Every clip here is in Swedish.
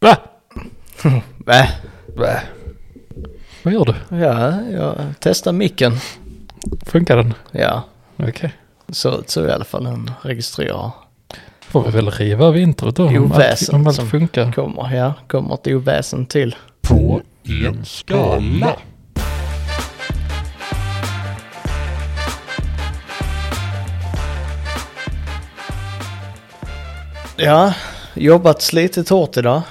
Va? Va? Va? Vad gör du? Ja, jag testar micken. Funkar den? Ja, Okej. det ser ut så i alla fall. Den registrerar. Får vi väl riva av introt då? Om allt, Oväsen om allt som- funkar. Kommer, ja, kommer ett oväsen till. på en skala. Ja, jobbat slitit hårt idag.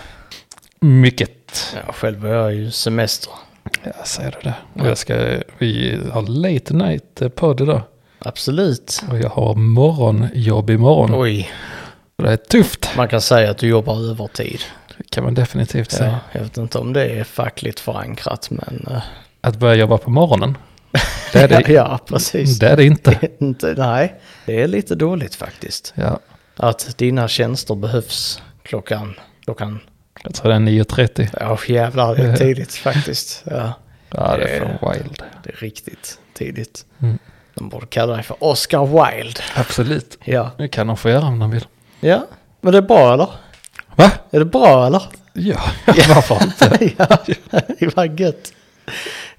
Mycket. Ja, själv har jag ju semester. Ja, säger du det. Och jag ska, vi har late night eh, podd idag. Absolut. Och jag har morgonjobb imorgon. Oj, Och Det är tufft. man kan säga att du jobbar övertid. Det kan man definitivt Ja, säga. jag vet inte om det är fackligt förankrat, men... eh, Att börja jobba på morgonen. Det är det, ja, precis. det, är det inte. Inte, nej, det är lite dåligt faktiskt. Ja, Att dina tjänster behövs klockan... Klockan... jag tror det är 9.30. Ja, jävlar, det är tidigt faktiskt. Ja. Ja, det är för wild. Det är riktigt tidigt. Mm. De borde kalla dig för Oscar Wilde. Absolut. Ja. Nu kan de få göra om de vill. Ja, men det är bra eller? Va? Är det bra eller? Ja, varför inte? ja, det var gött.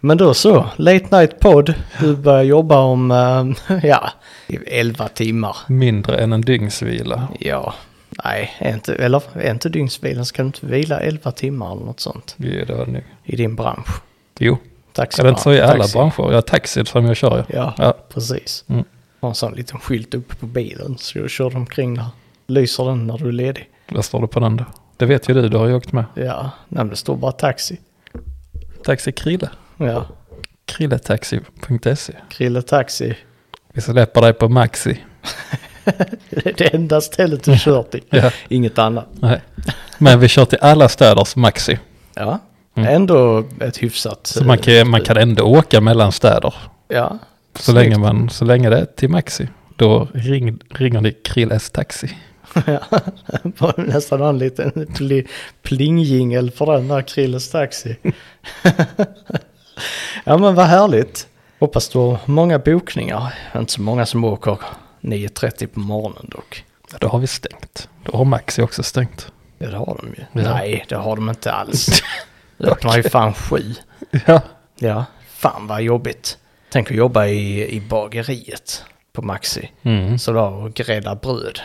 Men då så, late night podd. Du börjar jobba om, eh, ja, i 11 timmar. Mindre än en dygnsvila. Ja, nej, är inte, eller är inte dygnsvilan så kan du inte vila 11 timmar eller något sånt Jo, det var det nog. i din bransch. Jo, Taxibransch. är det inte så i alla taxi. branscher? Jag taxi som jag kör ju. Ja, Ja. precis. Mm. Har en sån liten skylt uppe på bilen så du kör omkring där. Lyser den när du är ledig. Vad står det på den då? Det vet ju du, du har ju åkt med. Ja, nej, men det står bara taxi. Taxi Krille. Ja, Krilletaxi.se. Krille Taxi. Vi släpper dig på Maxi. Det är det enda stället du kör till. Ja. Inget annat. Nej. Men vi kör till alla städers Maxi. Ja, Mm. ändå ett hyfsat... eh, Så man kan, man kan ändå åka mellan städer. Ja, Så länge, man, så länge det är till Maxi. Då ring, ringer ni Krilles Taxi. Var det nästan en liten pli, plingjingel för den där Krilles Taxi. ja, men vad härligt. Hoppas du har många bokningar. Inte så många som åker 9.30 på morgonen dock. Ja, Då har vi stängt. Då har Maxi också stängt. Ja, det har de ju. Ja. Nej, det har de inte alls. Det öppnar ju fan sju. Ja. Ja, fan vad jobbigt. Tänk att jobba i, i bageriet på Maxi. Mm. Så då och grädda bröd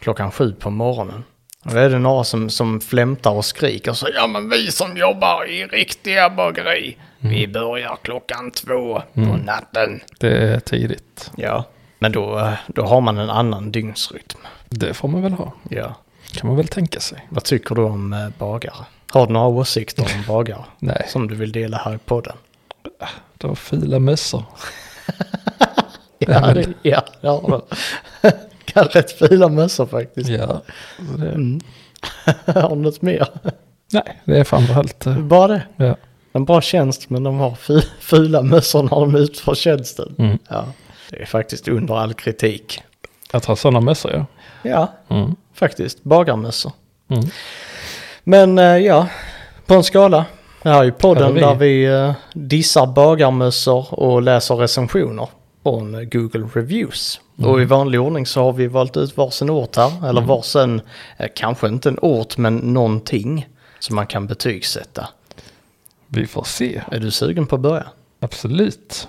klockan sju på morgonen. Och då är det några som, som flämtar och skriker så ja men vi som jobbar i riktiga bageri, vi börjar klockan två på natten. Det är tidigt. Mm. Ja, men då, eh, då har man en annan dygnsrytm. Det får man väl ha. Ja. kan man väl tänka sig. Vad tycker du om eh, bagare? Har du några åsikter om bagare Nej, som du vill dela här i podden? det var fula mössor. Ja, det, ja, det har de. Kan rätt fina mössor faktiskt. Ja. Så det, Har de något mer? Nej, det är fan allt. eh, Bara det. Ja. En bra tjänst men de har fu- fula mössor när de utför tjänsten. Mm. Ja, det är faktiskt under all kritik. Att ha sådana mössor, ja. Ja, Mm. faktiskt. Bagarmössor. Mm. Men eh, ja, på en skala. Det här är ju Här är podden vi. där vi eh, dissar bagarmössor och läser recensioner från eh, Google Reviews. Mm. Och i vanlig ordning så har vi valt ut varsin ort här, eller varsin, eh, kanske inte en ort, men någonting som man kan betygsätta. Vi får se. Är du sugen på att börja? Absolut.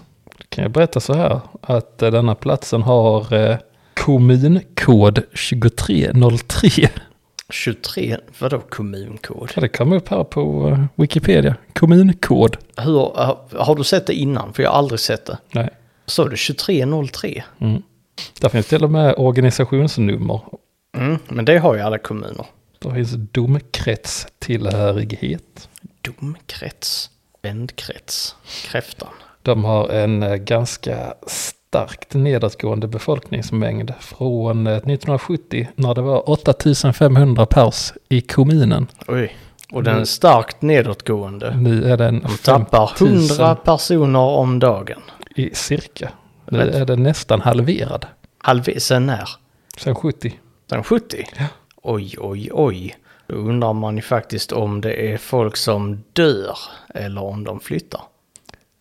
Kan jag berätta så här att eh, denna platsen har eh, kommunkod 2303. 23, vadå kommunkod? Ja, det kom upp här på eh, Wikipedia. Kommunkod. Hur, ha- har du sett det innan? För jag har aldrig sett det. Nej. Så det 2303? Mm. Där finns till och med organisationsnummer. Mm, men det har ju alla kommuner. Där finns domkretstillhörighet. Domkrets, vändkrets, kräftan. De har en eh, ganska starkt nedåtgående befolkningsmängd från eh, 1970 när det var 8500 pers i kommunen. Oj. Och den är starkt nedåtgående. Nu är den Tappar 100 100 personer om dagen. i cirka. Nu Rätt. är den nästan halverad Halv, sen när? sen 70. Sen 70? Ja. Oj, oj, oj. Då undrar man ju faktiskt om det är folk som dör eller om de flyttar.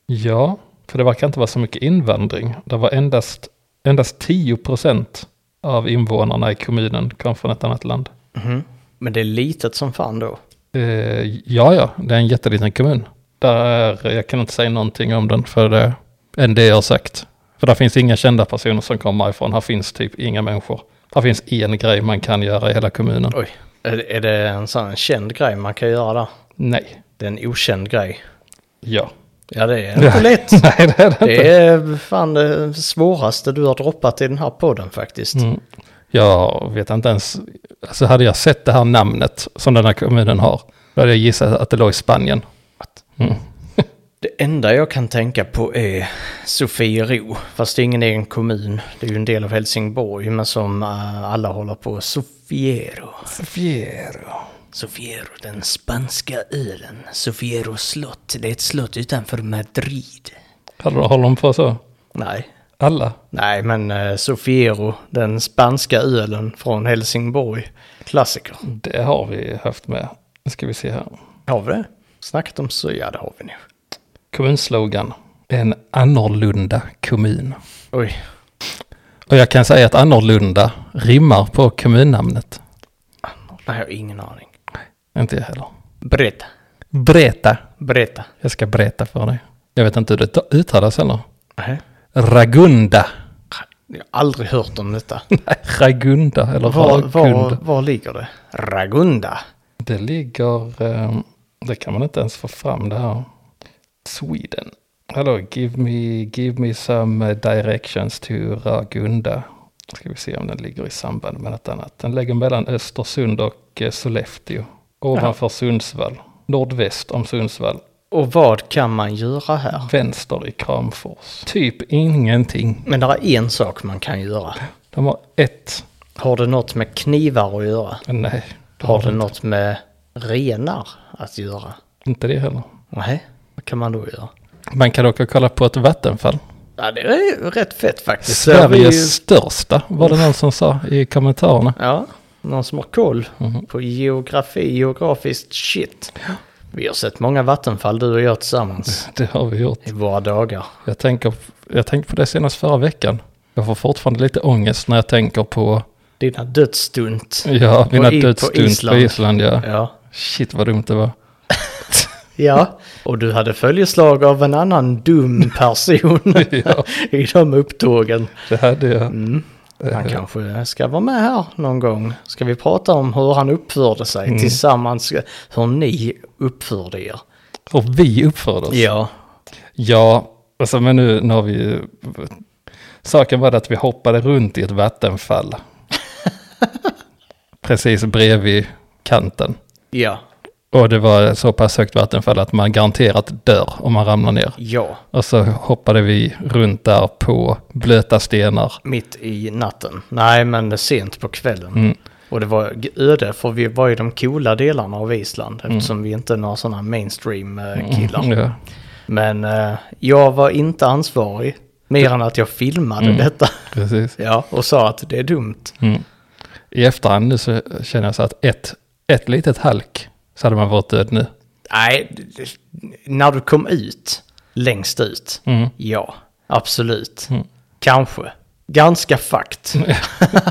Ja, för det verkar inte vara så mycket invandring. Det var endast, endast 10 procent Mhm. av invånarna i kommunen kom från ett annat land. Men det är litet som fan då. Eh, ja, ja, det är en jätteliten kommun. Där är, jag kan inte säga någonting om den för det, än det jag har sagt. För där finns inga kända personer som kommer ifrån. Här finns typ inga människor. Här finns en grej man kan göra i hela kommunen. Oj, är, är det en sån känd grej man kan göra där? Nej, Det är en okänd grej. ja. Ja, det är inte lätt. Nej, det är det inte. Det är fan det svåraste du har droppat i den här podden faktiskt. Mm. Jag vet inte ens, alltså hade jag sett det här namnet som den här kommunen har, då hade jag gissat att det låg i Spanien. Mm. Det enda jag kan tänka på är Sofiero, fast det är ingen egen kommun. Det är ju en del av Helsingborg, men som eh, alla håller på Sofiero. Sofiero, den spanska ölen. Sofiero slott, det är ett slott utanför Madrid. Hade de, håller de på så? Nej, Alla? nej men eh, Sofiero, den spanska ölen från Helsingborg. Klassiker. Det har vi haft med. Nu ska vi se här. Har vi det? Snackat om så, ja det har vi nu. Kommunslogan. En annorlunda kommun. Oj, Och jag kan säga att annorlunda rimmar på kommunnamnet. nej jag har ingen aning. Inte jag heller. Berätta, Breta. berätta. Jag ska berätta för dig. Jag vet inte hur det ta- uttalas heller. Nej, Ragunda. jag har aldrig hört om detta. Nej, Ragunda eller Var, var, Ragunda. var ligger det? Ragunda. Det ligger... eh, Det kan man inte ens få fram det här. Sweden. Hallå, give me, give me some eh, directions to Ragunda. Ska vi se om den ligger i samband med något annat. Den ligger mellan Östersund och eh, Sollefteå. Ovanför Sundsvall. Nordväst om Sundsvall. Och vad kan man göra här? Vänster i Kramfors. Typ ingenting. Men det är en sak man kan göra. De har ett... Har det något med knivar att göra? Nej, Har det något med renar att göra? inte det heller. Nej, vad kan man då göra? Man kan åka och kolla på ett vattenfall. Ja, det är ju rätt fett faktiskt. Det är Sveriges ju- största var det någon som sa i kommentarerna. Ja, någon som har koll Mhm. på geografi, geografiskt shit. Vi har sett många vattenfall du och jag tillsammans Det har vi gjort. i våra dagar. Jag tänker, jag tänkte på det senast förra veckan. Jag får fortfarande lite ångest när jag tänker på Dina dödsstunt. ja, mina i- på dödsstund på Island. Island. Ja. Ja. Shit vad dumt det var. Ja, och du hade följeslag av en annan dum person ja, i de upptågen. det hade jag. Mm. Han kanske ska vara med här någon gång. Ska vi prata om hur han uppförde sig Mm. tillsammans, hur ni uppförde er? Och vi uppförde oss. Ja, Ja, alltså, men nu, nu har vi ju- Saken var det att vi hoppade runt i ett vattenfall. Precis bredvid kanten. ja, Och det var så pass högt vattenfall att man garanterat dör om man ramlar ner. ja, Och så hoppade vi runt där på blöta stenar. mitt i natten. Nej, men sent på kvällen. Mm. Och det var g- öde, för vi var ju de coola delarna av Island, eftersom vi inte är några sådana mainstream-killar. Mm. Ja. Men eh, jag var inte ansvarig, mer än att jag filmade Mm. detta. Precis. Ja, och sa att det är dumt. I efterhand nu så känner jag så att ett, ett litet halk så hade man varit död nu. Nej, d- d- när du kom ut, längst ut, Mm. ja, absolut. Kanske. Ganska fakt.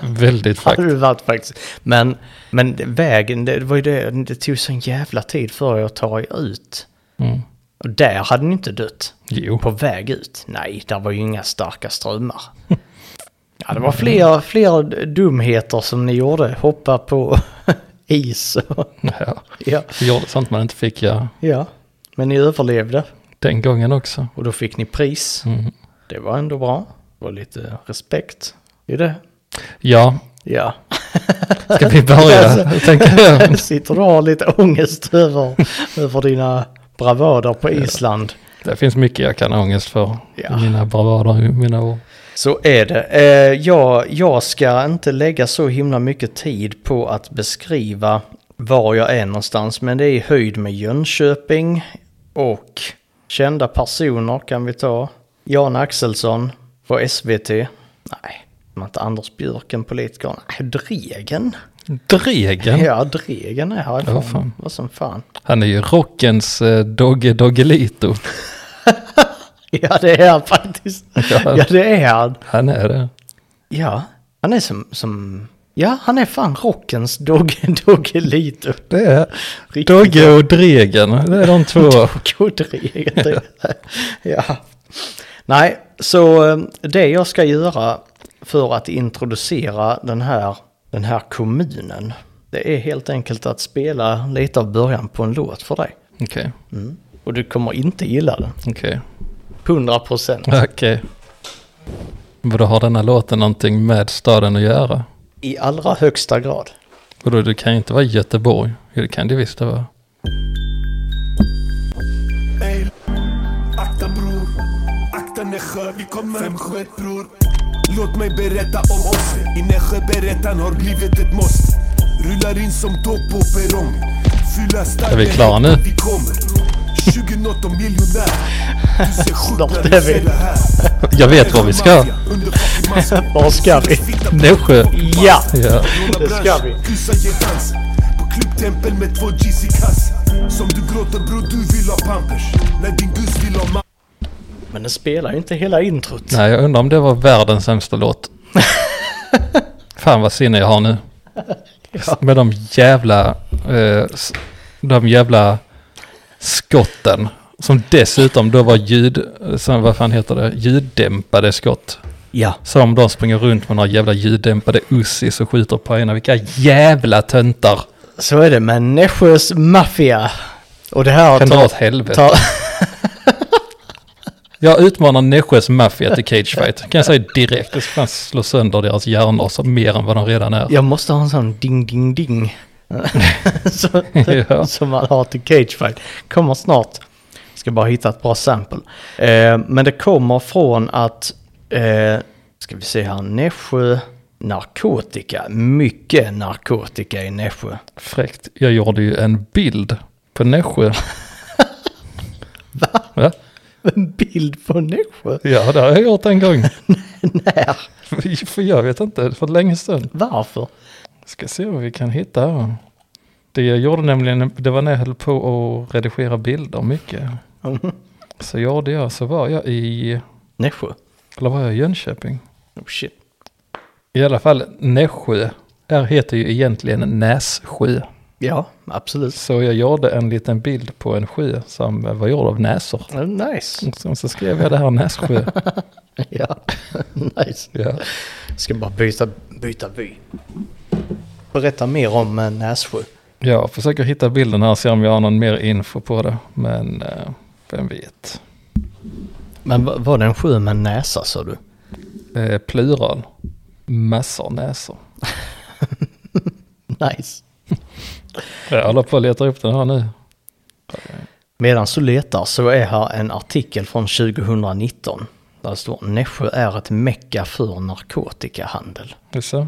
Väldigt fakt. Hade du varit faktiskt. Men, men vägen, det var ju det, det tog sån jävla tid för er att ta er ut. Mm. Och där hade ni inte dött. Jo, På väg ut? Nej, där var ju inga starka strömmar. Ja, det var fler, fler dumheter som ni gjorde. Hoppa på is. och- ja. ja, vi gjorde sånt man inte fick göra ja, men ni överlevde. den gången också. Mm. Och då fick ni pris. Det var ändå bra. Det var lite respekt i det. Ja, Ja, ska vi börja? tänker jag. sitter du och har lite ångest över, över dina bravader på Island. Det finns mycket jag kan ha ångest för. Ja. i Mina bravader, i mina år. Så är det. Eh, jag, jag ska inte lägga så himla mycket tid på att beskriva var jag är någonstans, men det är i höjd med Jönköping och kända personer kan vi ta. Jan Axelsson på SVT. Nej, var inte Anders Björk en politiker? Nej, Dregen. Dregen. Ja, Dregen är härifrån. Ja, fan. Vad som fan. Han är ju rockens eh, Dogge Doggelito. Ja, det är han faktiskt. Ja. Ja, det är han. Han är det. Ja, han är som, som Ja, han är fan rockens Dogge Dogge Lito. Det är Riktigt Dogge och Dregen. Det är de två. Godreget. ja. Nej, så eh, det jag ska göra för att introducera den här, den här kommunen. Det är helt enkelt att spela lite av början på en låt för dig. Okej. Och du kommer inte gilla den. Okej. 100 procent. Okej. Vadå, har denna låten någonting med staden att göra? I allra högsta grad. Vadå, det kan ju inte vara Göteborg. Jo, det kan det visst det vara. Ey, akta bror, akta Nässjö, vi kommer Fem sköt bror Låt mig berätta om oss, i Nässjö berättan har blivit ett måste Rullar in som tåg på perrongen Fylla starka Är vi klara nu? Vi kommer 20 nåt och miljonär Du ser sjuk Snart när är du vi. ser det här Jag vet var vi ska. Under fucking masken. Var ska vi? Nässjö. Ja! Ja. Det ska vi. Kryssa getans på klubbtempel med två G's i kass Som du gråter bror, du vill ha pampers När din gus vill ha ma- Men den spelar ju inte hela introt. Nej, jag undrar om det var världens sämsta låt. Fan vad sinne jag har nu. Med de jävla, eh, s- de jävla skotten. Som dessutom då var ljud, som, vad fan heter det, ljuddämpade skott. Ja. Som de springer runt med några jävla ljuddämpade Uzis och skjuter på ena. Vilka jävla töntar. Så är det med Nässjös maffia. Och det här Kan dra åt tar... helvete. tar Jag utmanar Nässjös maffia till cagefight. Kan jag säga direkt. Jag ska fan slå sönder deras hjärnor så mer än vad de redan är. jag måste ha en sån ding ding ding. så, Ja. Som man har till Cagefight. Kommer snart. Ska bara hitta ett bra sample. Eh, men det kommer från att... Eh, ska vi se här. Nässjö. Narkotika. Mycket narkotika i Nässjö. Fräckt. Jag gjorde ju en bild på Nässjö. Va? Ja. En bild på Nässjö. ja, det har jag gjort en gång. Nej. För- För jag vet inte, för länge sedan. Varför? Ska se vad vi kan hitta här. Det jag gjorde nämligen, det var när jag höll på att redigera bilder mycket. Så gjorde jag, så var jag i, Nässjö. eller var jag i Jönköping? Oh shit. I alla fall Nässjö. Där heter ju egentligen Nässjö. Ja, absolut. Så jag gjorde en liten bild på en sjö som var gjord av näsor. Eh, Nice. Och sen så skrev jag det här Nässjö. Ja, nice. Ja. Ska bara byta, byta by. Berätta mer om eh, Nässjö. Jag försöker hitta bilden här, se om jag har någon mer info på det. Men eh, vem vet. Men va- var det en sjö med näsa sa du? Eh, plural. Massor näsor. Nice. Jag håller på att leta upp den här nu. Medan du letar så är här en artikel från 2019. Där det står Nässjö är ett mecka för narkotikahandel. Jaså?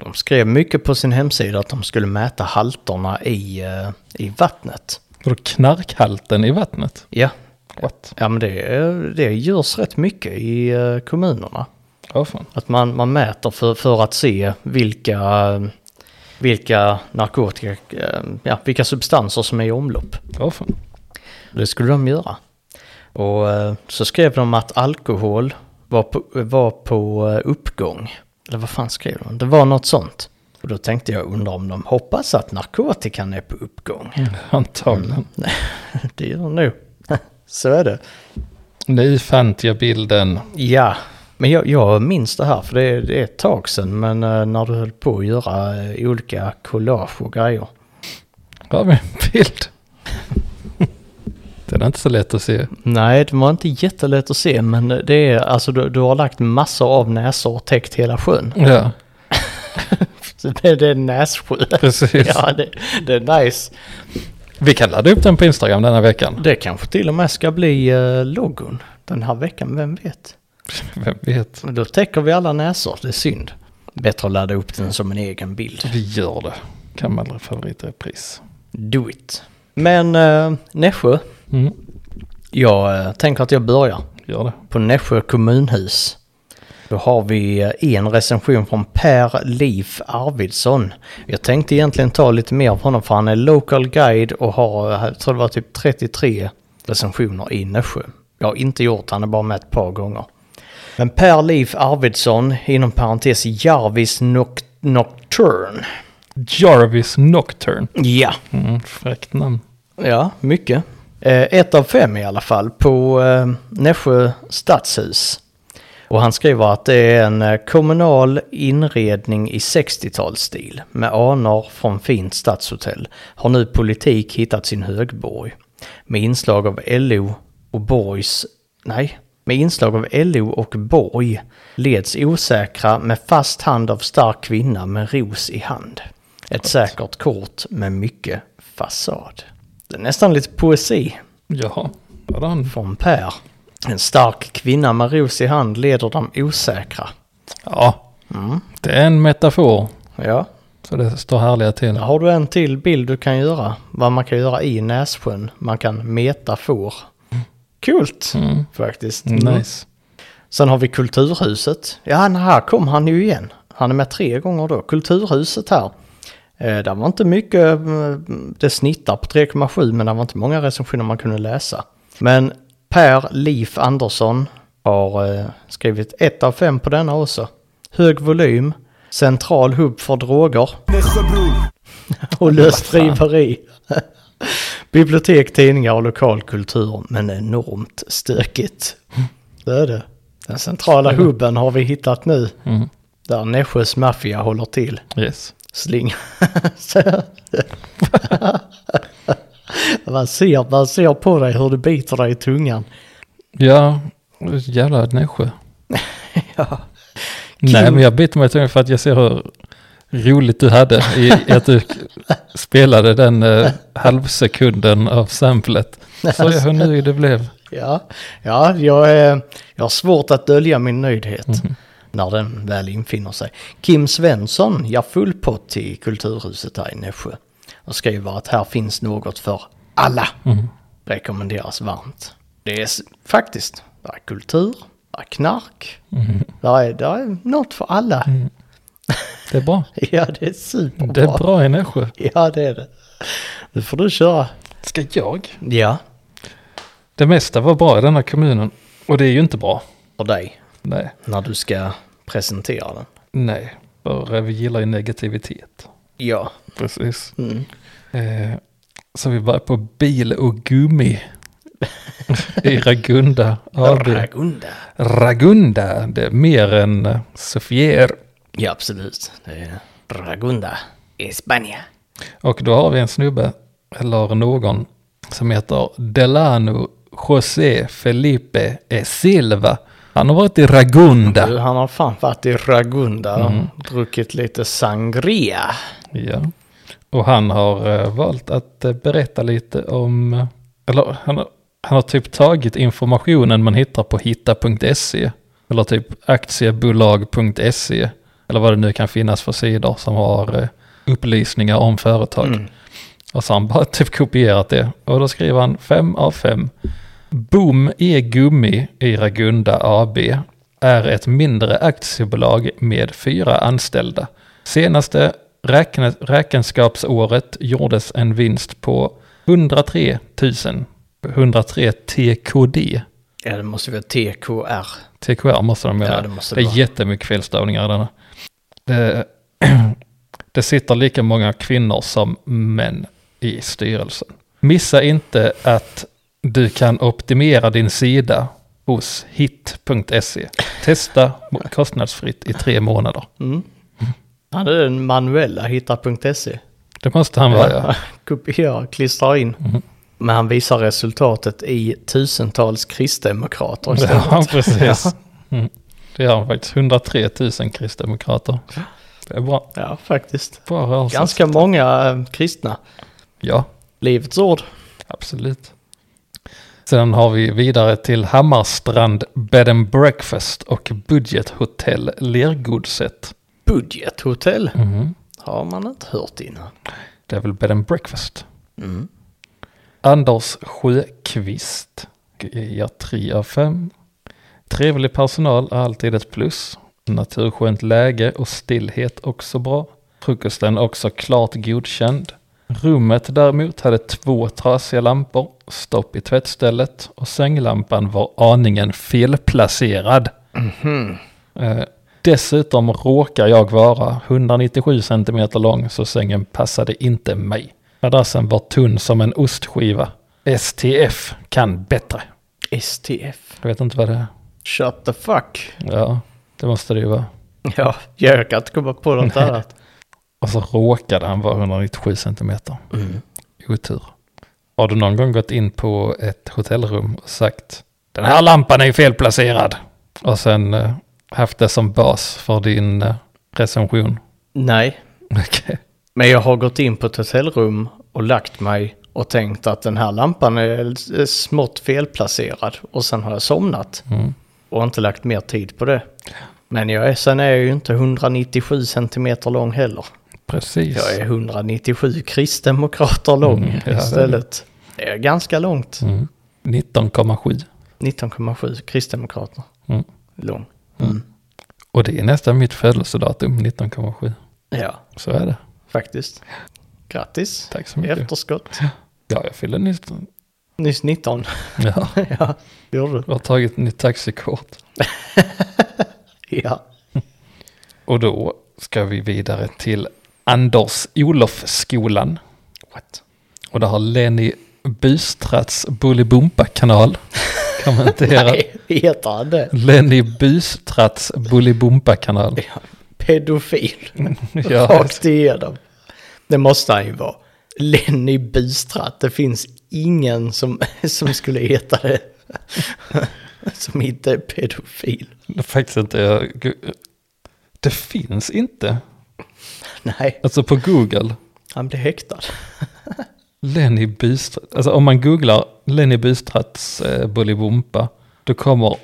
De skrev mycket på sin hemsida att de skulle mäta halterna i, eh, i vattnet. Vadå knarkhalten i vattnet? Ja, What? ja men det, är- det görs rätt mycket i eh, kommunerna. Ja fan. Att man, man mäter för, för att se vilka, eh, vilka narkotika, eh, ja, vilka substanser som är i omlopp. Ja fan. Det skulle de göra. Och eh, så skrev de att alkohol var på, var på eh, uppgång. Eller vad fan skrev de? Det var något sånt. Och då tänkte jag undra om de hoppas att narkotikan är på uppgång. Antagligen. Det gör de nog. så är det. Nu fann jag bilden. Ja, men jag, jag minns det här för det, det är ett tag sedan. Men eh, när du höll på att göra eh, olika collage och grejer. Här har vi en bild. den är inte så lätt att se. Nej, det var inte jättelätt att se men det är alltså du, du har lagt massor av näsor och täckt hela sjön. Ja, Så det, det är en nässjö. precis. Ja, det, det är nice. Vi kan ladda upp den på Instagram denna veckan. Det kanske till och med ska bli eh, logon den här veckan, vem vet? Vem vet? Men Då täcker vi alla näsor, det är synd. Bättre att ladda upp den som en egen bild. Vi gör det. Gammal favoritrepris. Do it. Men eh, Nässjö, Mm. jag eh, tänker att jag börjar Gör det. på Nässjö kommunhus. Då har vi eh, en recension från Per Liv Arvidsson. Jag tänkte egentligen ta lite mer av honom för han är local guide och har, eh, jag tror det var typ 33 recensioner i Nässjö. Jag har inte gjort, han är bara med ett par gånger. Men Per Liv Arvidsson, inom parentes Jarvis Noct- Nocturne. Jarvis Nocturne. Ja. Mm, fräckt namn. Ja, mycket. Eh, ett av fem i alla fall på eh, Nässjö stadshus. Och han skriver att det är en eh, kommunal inredning i 60-talsstil med anor från fint stadshotell. Har nu politik hittat sin högborg. Med inslag av LO och Borgs... Nej. Med inslag av LO och Borg leds osäkra med fast hand av stark kvinna med ros i hand. Ett säkert kort med mycket fasad. Det är nästan lite poesi Jaha. Vad har han? från Per. En stark kvinna med ros i hand leder de osäkra. Ja. Det är en metafor. Ja, Så det står härliga till. där har du en till bild du kan göra. Vad man kan göra i Nässjön. Man kan meta får. Coolt Mm. faktiskt. Nice. Sen har vi Kulturhuset. Ja, nej, här kom han ju igen. Han är med tre gånger då. Kulturhuset här. Eh, där var inte mycket, eh, det snittar på 3,7 men det var inte många recensioner man kunde läsa. Men Per Lif Andersson har eh, skrivit ett av fem på denna också. Hög volym, central hubb för droger Nässjö bror och löst driveri. Bibliotek, tidningar och lokal kultur, men enormt stökigt. Det är det. Den centrala hubben har vi hittat nu, Mm. där Nässjös maffia håller till. Yes. Sling. Så- man, ser, man ser på dig hur det biter dig i tungan. Ja. Jävla Nässjö. Ja. Nej, men jag biter mig i tungan för att jag ser hur roligt du hade i i att du spelade den eh, halvsekunden av samplet. Så jag hur nöjd det blev. Ja, ja jag, är, jag har svårt att dölja min nöjdhet när den väl infinner sig. Kim Svensson, jag full pott i Kulturhuset här i Nässjö och skriver att här finns något för alla. Rekommenderas varmt. Det är s- faktiskt, där är kultur, där är knark, där, är, där är något för alla. Det är bra. Ja, det är superbra. Det är bra i Nässjö. Ja, det är det. Nu får du köra. Ska jag? Ja, Det mesta var bra i den här kommunen. Och det är ju inte bra. för dig Nej. när du ska presentera den. Nej. För vi gillar ju negativitet. Ja. Precis. Mm. Eh, så vi börjar på bil och gummi. I Ragunda AB. Ragunda. Ragunda, det är mer än eh, Sofier. Ja, absolut. Det är Ragunda i Spanien. Och då har vi en snubbe, eller någon, som heter Delano José Felipe E. Silva. Han har varit i Ragunda. Han har fan varit i Ragunda och druckit lite sangria. Ja. Och han har eh, valt att eh, berätta lite om, eh, eller han har, han har typ tagit informationen man hittar på hitta.se, eller typ aktiebolag.se, eller vad det nu kan finnas för sidor som har eh, upplysningar om företag. Och så har han bara typ kopierat det. Och då skriver han 5 av 5. Boom E-gummi i Ragunda AB är ett mindre aktiebolag med fyra anställda. Senaste räkne, räkenskapsåret gjordes en vinst på 103 000. 103 TKD. Ja, det måste vara TKR. TKR måste de mena. Ja, det det, måste det är vara. jättemycket felstavningar i denna. Det, det sitter lika många kvinnor som män i styrelsen. Missa inte att du kan optimera din sida hos hit.se. Testa kostnadsfritt i tre månader. Han är den manuella hitta.se. Det måste han vara. Ja. Kopiera, klistra in. Men han visar resultatet i tusentals kristdemokrater istället. Ja, precis. Mm. Det har han faktiskt. 103 000 kristdemokrater. Det är bra. Ja, faktiskt. bra rörelse. Ganska många eh, kristna. Ja. Livets ord. Absolut. Sen har vi vidare till Hammarstrand Bed and Breakfast och Budget Hotel Lergodset. Budgethotell Mhm. har man inte hört innan. Det är väl Bed and Breakfast. Mm. Anders Sjöqvist ger 3 av 5. Trevlig personal är alltid ett plus. Naturskönt läge och stillhet också bra. Frukosten också klart godkänd. Rummet däremot hade två trasiga lampor, stopp i tvättstället och sänglampan var aningen felplacerad. Eh, Dessutom råkar jag vara 197 cm lång så sängen passade inte mig. Madrassen var tunn som en ostskiva. STF kan bättre. STF. Jag vet inte vad det är. Shut the fuck. Ja, det måste det ju vara. Ja, jag kan inte komma på något Nej. annat. Och så råkade han vara 197 centimeter. Mm. Otur. Har du någon gång gått in på ett hotellrum och sagt den här lampan är felplacerad? Och sen eh, haft det som bas för din eh, recension? Nej, Okej. men jag har gått in på ett hotellrum och lagt mig och tänkt att den här lampan är är smått felplacerad och sen har jag somnat Mm. och inte lagt mer tid på det. Men jag är, sen är jag ju inte 197 centimeter lång heller. Precis. Jag är 197 kristdemokrater lång Mm, ja, det är istället. Det är ganska långt. Mm. 19,7. 19,7 kristdemokrater Mm. lång. Mm. Och det är nästan mitt födelsedatum, 19,7. Ja, Så är det. faktiskt. Grattis. Tack så I mycket. efterskott. Ja, jag fyller nyss. Nyss 19. Ja, ja, det gjorde du. jag har tagit ett nytt taxikort. Ja. Och då ska vi vidare till Anders Olofsskolan. What? Och där har Lenny Bystrats Bullybumpa-kanal kommenterat. Nej, heter han det? Lenny Bystrats Bullybumpa-kanal. Pedofil. Ja, Rakt igenom. Det måste han ju vara. Lenny Bystratt. Det finns ingen som, som skulle heta det. som inte är pedofil. det är faktiskt inte. jag- gu- Det finns inte. Nej, Alltså på Google. han blev häktad. Lenny Bystratt. Alltså om man googlar Lenny Bystratts eh, Bullybumpa. Då kommer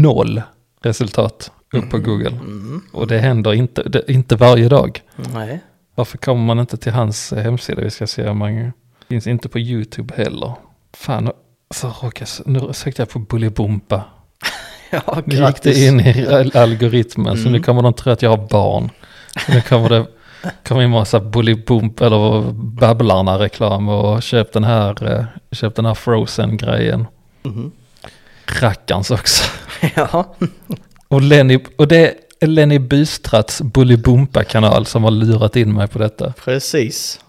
noll resultat upp på Google. Och det händer inte, det, inte varje dag. Nej. Varför kommer man inte till hans eh, hemsida? Vi ska se om man finns inte på YouTube heller. Fan, så råkar, nu sökte jag på Bullybumpa. Ja, Nu gick det in i al- algoritmen, så nu kommer de tro att jag har barn. Så nu kommer det kommer in massa Bullybump eller Babblarna-reklam och köp den här, eh, köp den här Frozen-grejen. Mhm. Rackarns också. Ja. Och, Lenny, och det är Lenny Bystrats Bullybumpa-kanal som har lurat in mig på detta. Precis.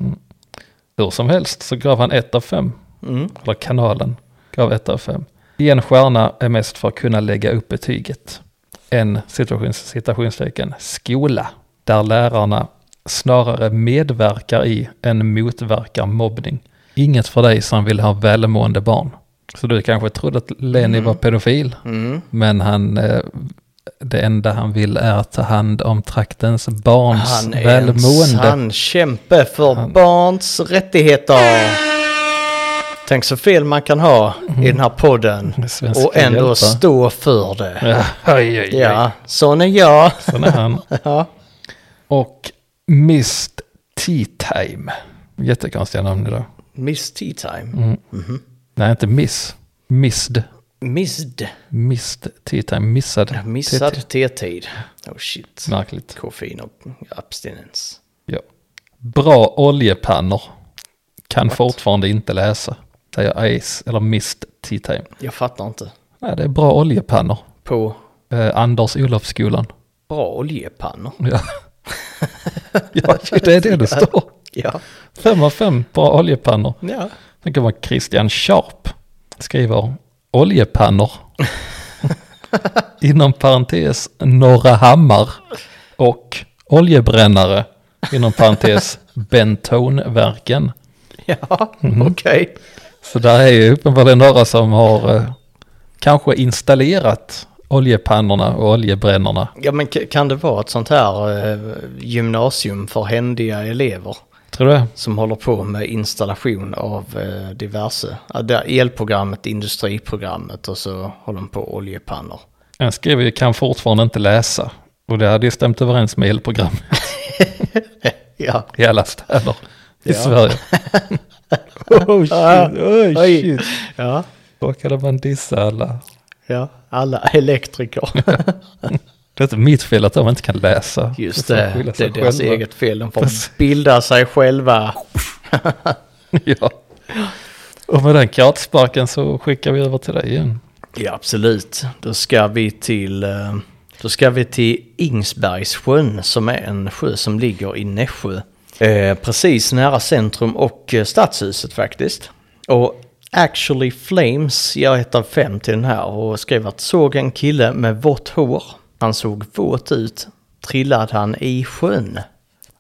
Hur som helst så gav han ett av fem. Mm. eller kanalen, gav 1 av 5. En stjärna är mest för att kunna lägga upp betyget. En situations, citationstecken skola, där lärarna snarare medverkar i än motverkar mobbning. Inget för dig som vill ha välmående barn. Så du kanske trodde att Lenny var pedofil, Mm. men han, eh, det enda han vill är att ta hand om traktens barns Han är en välmående. sann kämpe för barns rättigheter. Tänk så fel man kan ha i den här podden Svenska och ändå hjältar. stå för det. Ja, oj, oj, oj. Ja, sån är jag. Sen är han. Ja. Och Mist Tea Time. Jättekonstiga namn idag. Miss Tea Time. Nej, inte Miss. Missed. Missed. Missed Tea Time. Missad. Tea Missad te-tid. Oh shit. Time. Märkligt. Koffein och abstinens. Ja. Bra oljepannor. Kan fortfarande inte läsa. Säger Ice eller Mist Tea Time. Jag fattar inte. Nej, det är bra oljepannor. På Eh, Anders Olofsskolan. bra oljepannor. Ja. ja, det är det det står. Ja. Fem av fem bra oljepannor. Ja. Sen kommer Christian Sharp. Skriver oljepannor. Inom parentes Norra Hammar. Och oljebrännare. Inom parentes Bentonverken. Ja, okej. Så där är ju uppenbarligen några som har eh, kanske installerat oljepannorna och oljebrännarna. Ja, men k- kan det vara ett sånt här eh, gymnasium för händiga elever Tror du det? som håller på med installation av eh, diverse, ja, där elprogrammet, industriprogrammet och så håller de på oljepannor. Han skriver ju kan fortfarande inte läsa. Och det hade ju stämt överens med elprogram Ja, i alla städer i Ja. Sverige. oh shit, oh Ah, Oj. ja, Råkade man dissa alla? ja, alla elektriker. Det är inte mitt fel att de inte kan läsa. Just De får det, skylla det är sig deras själva. eget fel. De får bilda sig själva. ja. Och med den kartsparken så skickar vi över till dig igen. Ja, absolut. Då ska vi till, eh, då ska vi till Ingsbergssjön som är en sjö som ligger i Nässjö. Eh, precis nära centrum och eh, stadshuset faktiskt. Och Actually Flames ger ett av fem till den här och skrev att såg en kille med vått hår. Han såg våt ut. Trillade han i sjön?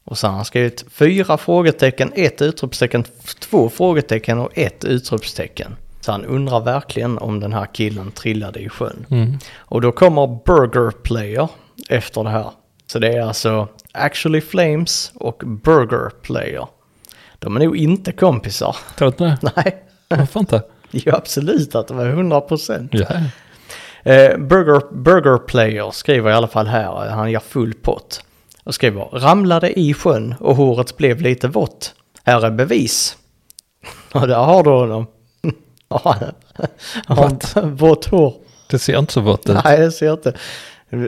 Och så har han skrivit fyra frågetecken, ett utropstecken, f- två frågetecken och ett utropstecken. Så han undrar verkligen om den här killen trillade i sjön. Och då kommer Burger Player efter det här. Så det är alltså Actually Flames och Burger Player. De är nog inte kompisar. Tror du inte det? Nej, Varför inte? ju absolut att de är 100 procent. Ja. Eh, Burger, Burger Player skriver i alla fall här, eh, han gör full pott. Och skriver, ramlade i sjön och håret blev lite vått. Här är bevis. Och där har du honom. Ja, han har inte vått hår. Det ser inte så vått ut. Nej, det ser jag inte.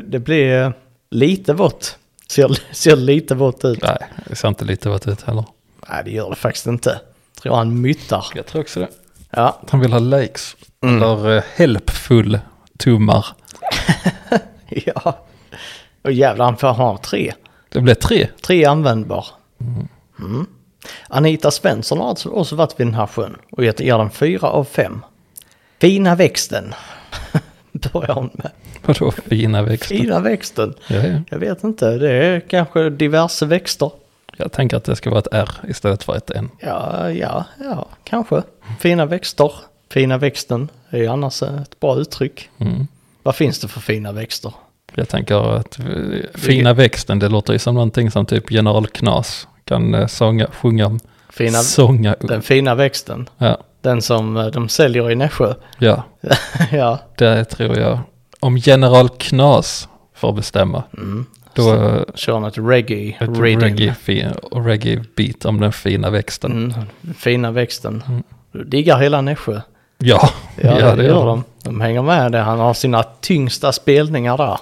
Det blir eh, lite vått. Ser, ser lite vått ut. Nej, det ser inte lite vått ut heller. Nej, det gör det faktiskt inte. Tror han myttar. Jag tror också det. Ja, Han vill ha likes. Mm. Eller eh, helpful tummar. ja. Och jävlar, han får ha tre. Det blev tre. Tre användbar. Mm. Anita Svensson har alltså också varit vid den här sjön och gett er den fyra av fem. Fina växten. Börjar hon med. Vadå fina växter? Fina växten. Ja, ja. Jag vet inte, det är kanske diverse växter. Jag tänker att det ska vara ett R istället för ett N. Ja, ja, ja, kanske. Fina växter. Fina växten är ju annars ett bra uttryck. Mm. Vad finns det för fina växter? Jag tänker att eh, fina växten, det låter ju som någonting som typ General Knas kan eh, sånga, sjunga om. Fina, Sånga upp. den fina växten. Ja, Den som eh, de säljer i Nässjö. ja, ja, det tror jag. Om General Knas får bestämma, då eh, kör han ett reggae. ett Mm. reading. reggae, fi- och reggae beat om den fina växten. Mm, fina växten. Du diggar hela Nässjö. Ja, Mm. Ja, det gör de. De hänger med det. Han har sina tyngsta spelningar där.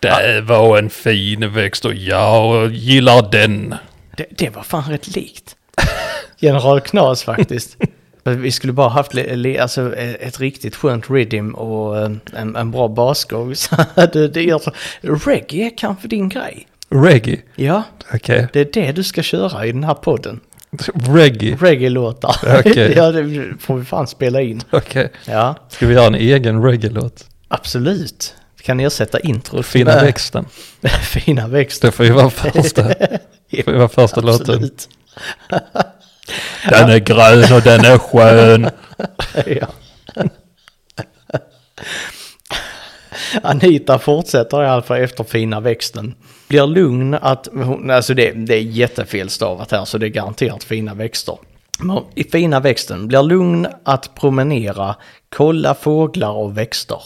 Det var en fin växt och jag gillar den. Det, det var fan rätt likt. General Knas faktiskt. Men Vi skulle bara haft li, li, alltså, eh, ett riktigt skönt rhythm och eh, en, en bra basgång. Så det, det gör, så- reggae är kanske din grej. Reggae, Ja, okej. det är det du ska köra i den här podden. Reggae, Reggae-låtar. Okej. ja, det får vi fan spela in. okej. Ja, Ska vi göra en egen reggae-låt? absolut. Vi kan ersätta introt Fina med- växten. Fina växter. Det får ju vara första, Ja, får ju vara första låten. Absolut. Den är grön och den är skön. Ja. Anita fortsätter i alla fall efter fina växten. Blir lugn att hon, alltså det, det är jättefelstavat här så det är garanterat fina växter. Men I fina växten, blir lugn att promenera, kolla fåglar och växter.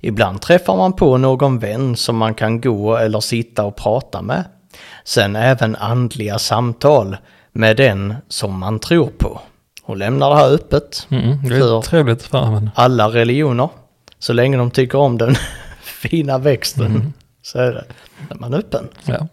Ibland träffar man på någon vän som man kan gå eller sitta och prata med. Sen även andliga samtal med den som man tror på. Hon lämnar det här öppet. Mm, det för- är trevligt för honom. alla religioner. Så länge de tycker om den fina växten så är det. Är man öppen. Ja.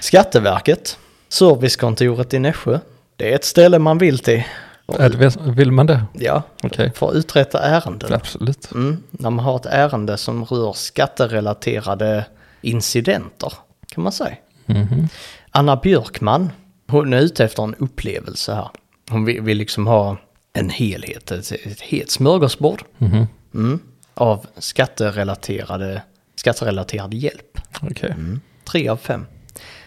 Skatteverket, servicekontoret i Nässjö. Det är ett ställe man vill till. Ja, det vet- Vill man det? Ja, Okej, för att uträtta ärenden. absolut. Mm, när man har ett ärende som rör skatterelaterade incidenter, kan man säga. Mhm. Anna Björkman, hon är ute efter en upplevelse här. Hon vill, vill liksom ha en helhet, ett, ett helt smörgåsbord. Mm, av skatterelaterade, skatterelaterad hjälp. Okej. Mm. Tre av fem.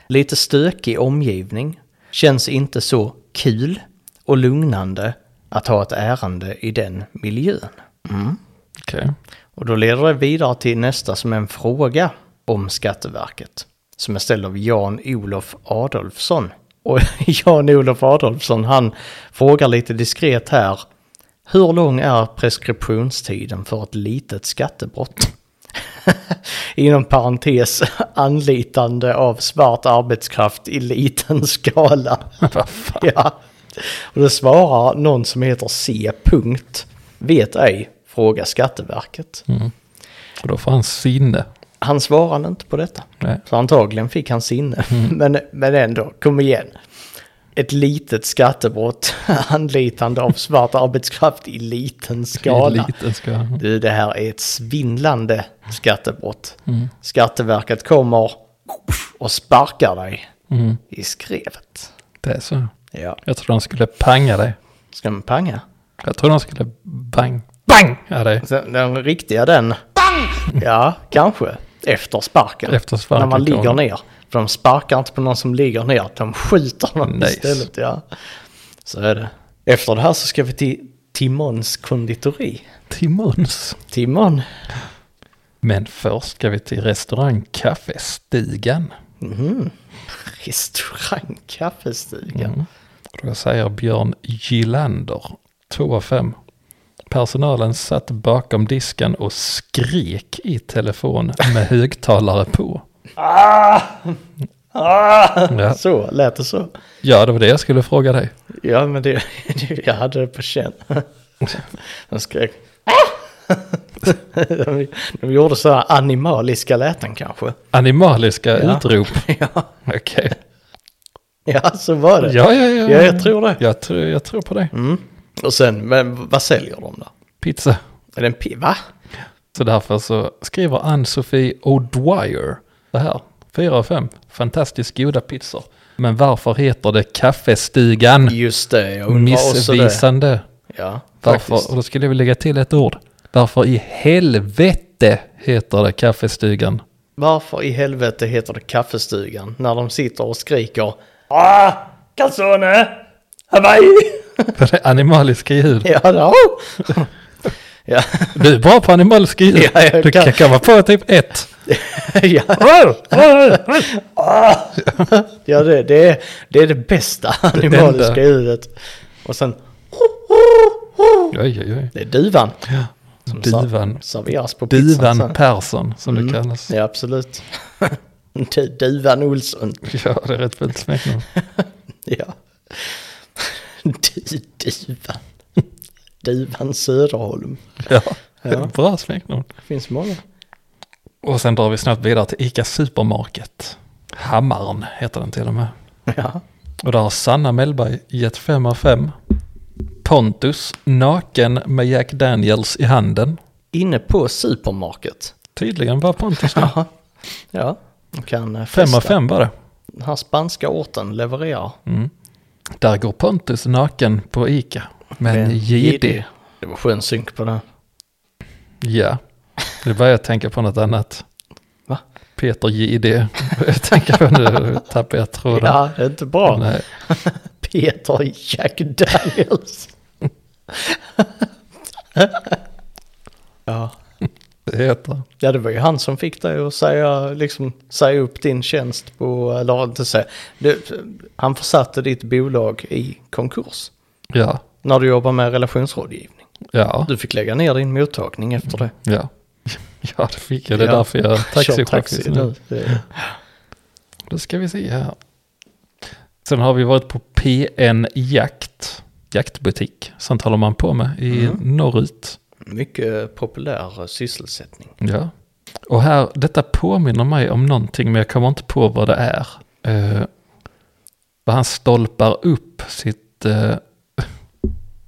Lite stökig omgivning. Känns inte så kul och lugnande att ha ett ärende i den miljön. Okej. Och då leder det vidare till nästa som är en fråga om Skatteverket. Som är ställd av Jan-Olof Adolfsson. Och Jan-Olof Adolfsson han frågar lite diskret här. Hur lång är preskriptionstiden för ett litet skattebrott? Inom parentes anlitande av svart arbetskraft i liten skala. Vad fan? Ja. Och då svarar någon som heter C. Punkt. Vet ej, fråga Skatteverket. Och då får han sinne. Han svarade inte på detta. Nej. Mm. Så antagligen fick han sinne. Men, men ändå, kom igen. ett litet skattebrott, anlitande av svart arbetskraft i liten skala. Liten Mm. skala. Du, det här är ett svindlande skattebrott. Mm. Skatteverket kommer och sparkar dig Mm. i skrevet. Det är så. Ja, Jag tror de skulle panga dig. ska man panga? Jag tror de skulle bang, bang ja, dig Sen, den riktiga den. Ja, kanske. Efter sparken. efter sparken. När man ligger kommer. ner. För de sparkar inte på någon som ligger ner. De skjuter någon Nice. istället. Ja. Så är det. Efter det här så ska vi till Timons konditori. Timons. Timon. Men först ska vi till restaurang Kaffestigan. Restaurang kaffestiga. Mm. Då säger Björn Gillander, 2 av 5. Personalen satt bakom disken och skrek i telefon med högtalare på. Ah! Ja. Så, lät det så? Ja, det var det jag skulle fråga dig. Ja, men det, det, jag hade det på känn. De skrek. De, de gjorde sådana animaliska läten kanske. Animaliska Ja. utrop. Ja, Okej. ja så var det. Ja, ja, ja. Ja, jag tror Mm. det. Jag tror, jag tror på dig. Och sen, men vad säljer de då? Pizza. Är det en pi- Va? Så därför så skriver Ann-Sofie O'Dwyer det här. 4 av 5. Fantastiskt goda pizzor. Men varför heter det Kaffestigan? Just det, jag undrar också det. Missvisande. Ja, Varför, faktiskt. och då skulle jag vilja lägga till ett ord. Varför i helvete heter det Kaffestigan? Varför i helvete heter det kaffestugan när de sitter och skriker Ah! Calzone! Hawaii! För det är animaliska ljud. Ja, då. ja, Du är bra på animaliska ljud. Ja, jag du kan kan. komma på typ ett. ja. Ja, det, det, är, det är det bästa animaliska enda. ljudet. Och sen... Oj, oj, oj. Det är duvan. Som ser- Duvan. serveras på pizzan. Divan sen. Persson som det kallas. Mm. Ja, absolut. Du- duvan Olsson. Ja, det är rätt fult smeknamn. Ja. Du, duvan. Duvan Söderholm. Ja, bra smeknamn. Det finns många. Och sen drar vi snabbt vidare till ICA Supermarket. Hammaren heter den till och med. Ja. Och där har Sanna Mellberg gett 5 av 5. Pontus, naken med Jack Daniels i handen. Inne på supermarket. Tydligen var Pontus det. Jaha. Ja. De Kan eh, Fem av festa. fem var det. Den här spanska orten levererar. Där går Pontus naken på Ica. Men Men JD. Det var skön synk på den. Ja. Nu börjar jag tänka på något annat. Va? Peter JD. Jag tänker på nu tappar jag tråden. Ja, det är inte bra. Nej. Peter Jack Daniels. ja. Det heter. ja, det var ju han som fick dig att säga, liksom, säga upp din tjänst på, eh, eller inte säga, du, han försatte ditt bolag i konkurs Ja. när du jobbar med relationsrådgivning. Ja. Du fick lägga ner din mottagning efter det. Ja. Ja, det fick jag. Det är Ja. därför jag är Kör taxi taxichaufför nu. nu. Det- Då ska vi se här. Sen har vi varit på PN Jakt. Jaktbutik. Sånt håller man på med i norrut. Mycket populär eh, sysselsättning. Ja. Och här, detta påminner mig om någonting, men jag kommer inte på vad det är. Eh, vad han stolpar upp sitt... eh,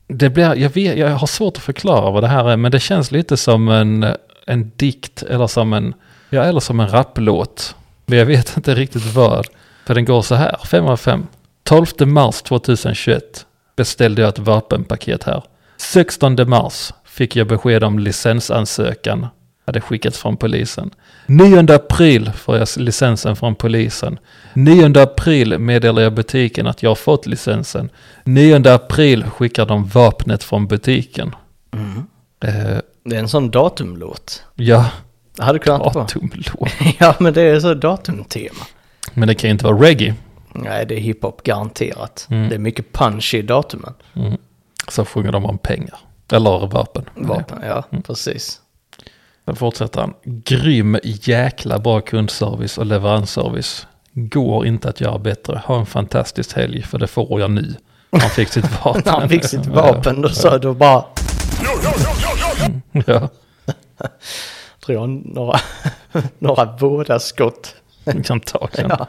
det blir, jag, vet, jag har svårt att förklara vad det här är, men det känns lite som en, en dikt eller som en, ja, eller som en rapplåt. Men jag vet inte riktigt vad. För den går så här, 5 av 5. 12 mars 2021 beställde jag ett vapenpaket här. 16 mars fick jag besked om licensansökan. Hade skickats från polisen. 9 april får jag licensen från polisen. 9 april meddelar jag butiken att jag har fått licensen. 9 april skickar de vapnet från butiken. Eh, Det är en sån datumlåt. ja, Det hade kunnat vara. datumlåt. Ja, men det är så datumtema. Men det kan ju inte vara reggae. Nej, det är hiphop garanterat. Det är mycket punch i datumen. Så sjunger de om pengar. Eller vapen. Vapen, ja, Mm. precis. Sen fortsätter han. Grym jäkla bra kundservice och leveransservice. Går inte att göra bättre. Ha en fantastisk helg för det får jag nu. Han fick sitt vapen. När han fick sitt vapen då sa du bara, Ja, tror jag, några, några vådaskott. antagligen. Ja.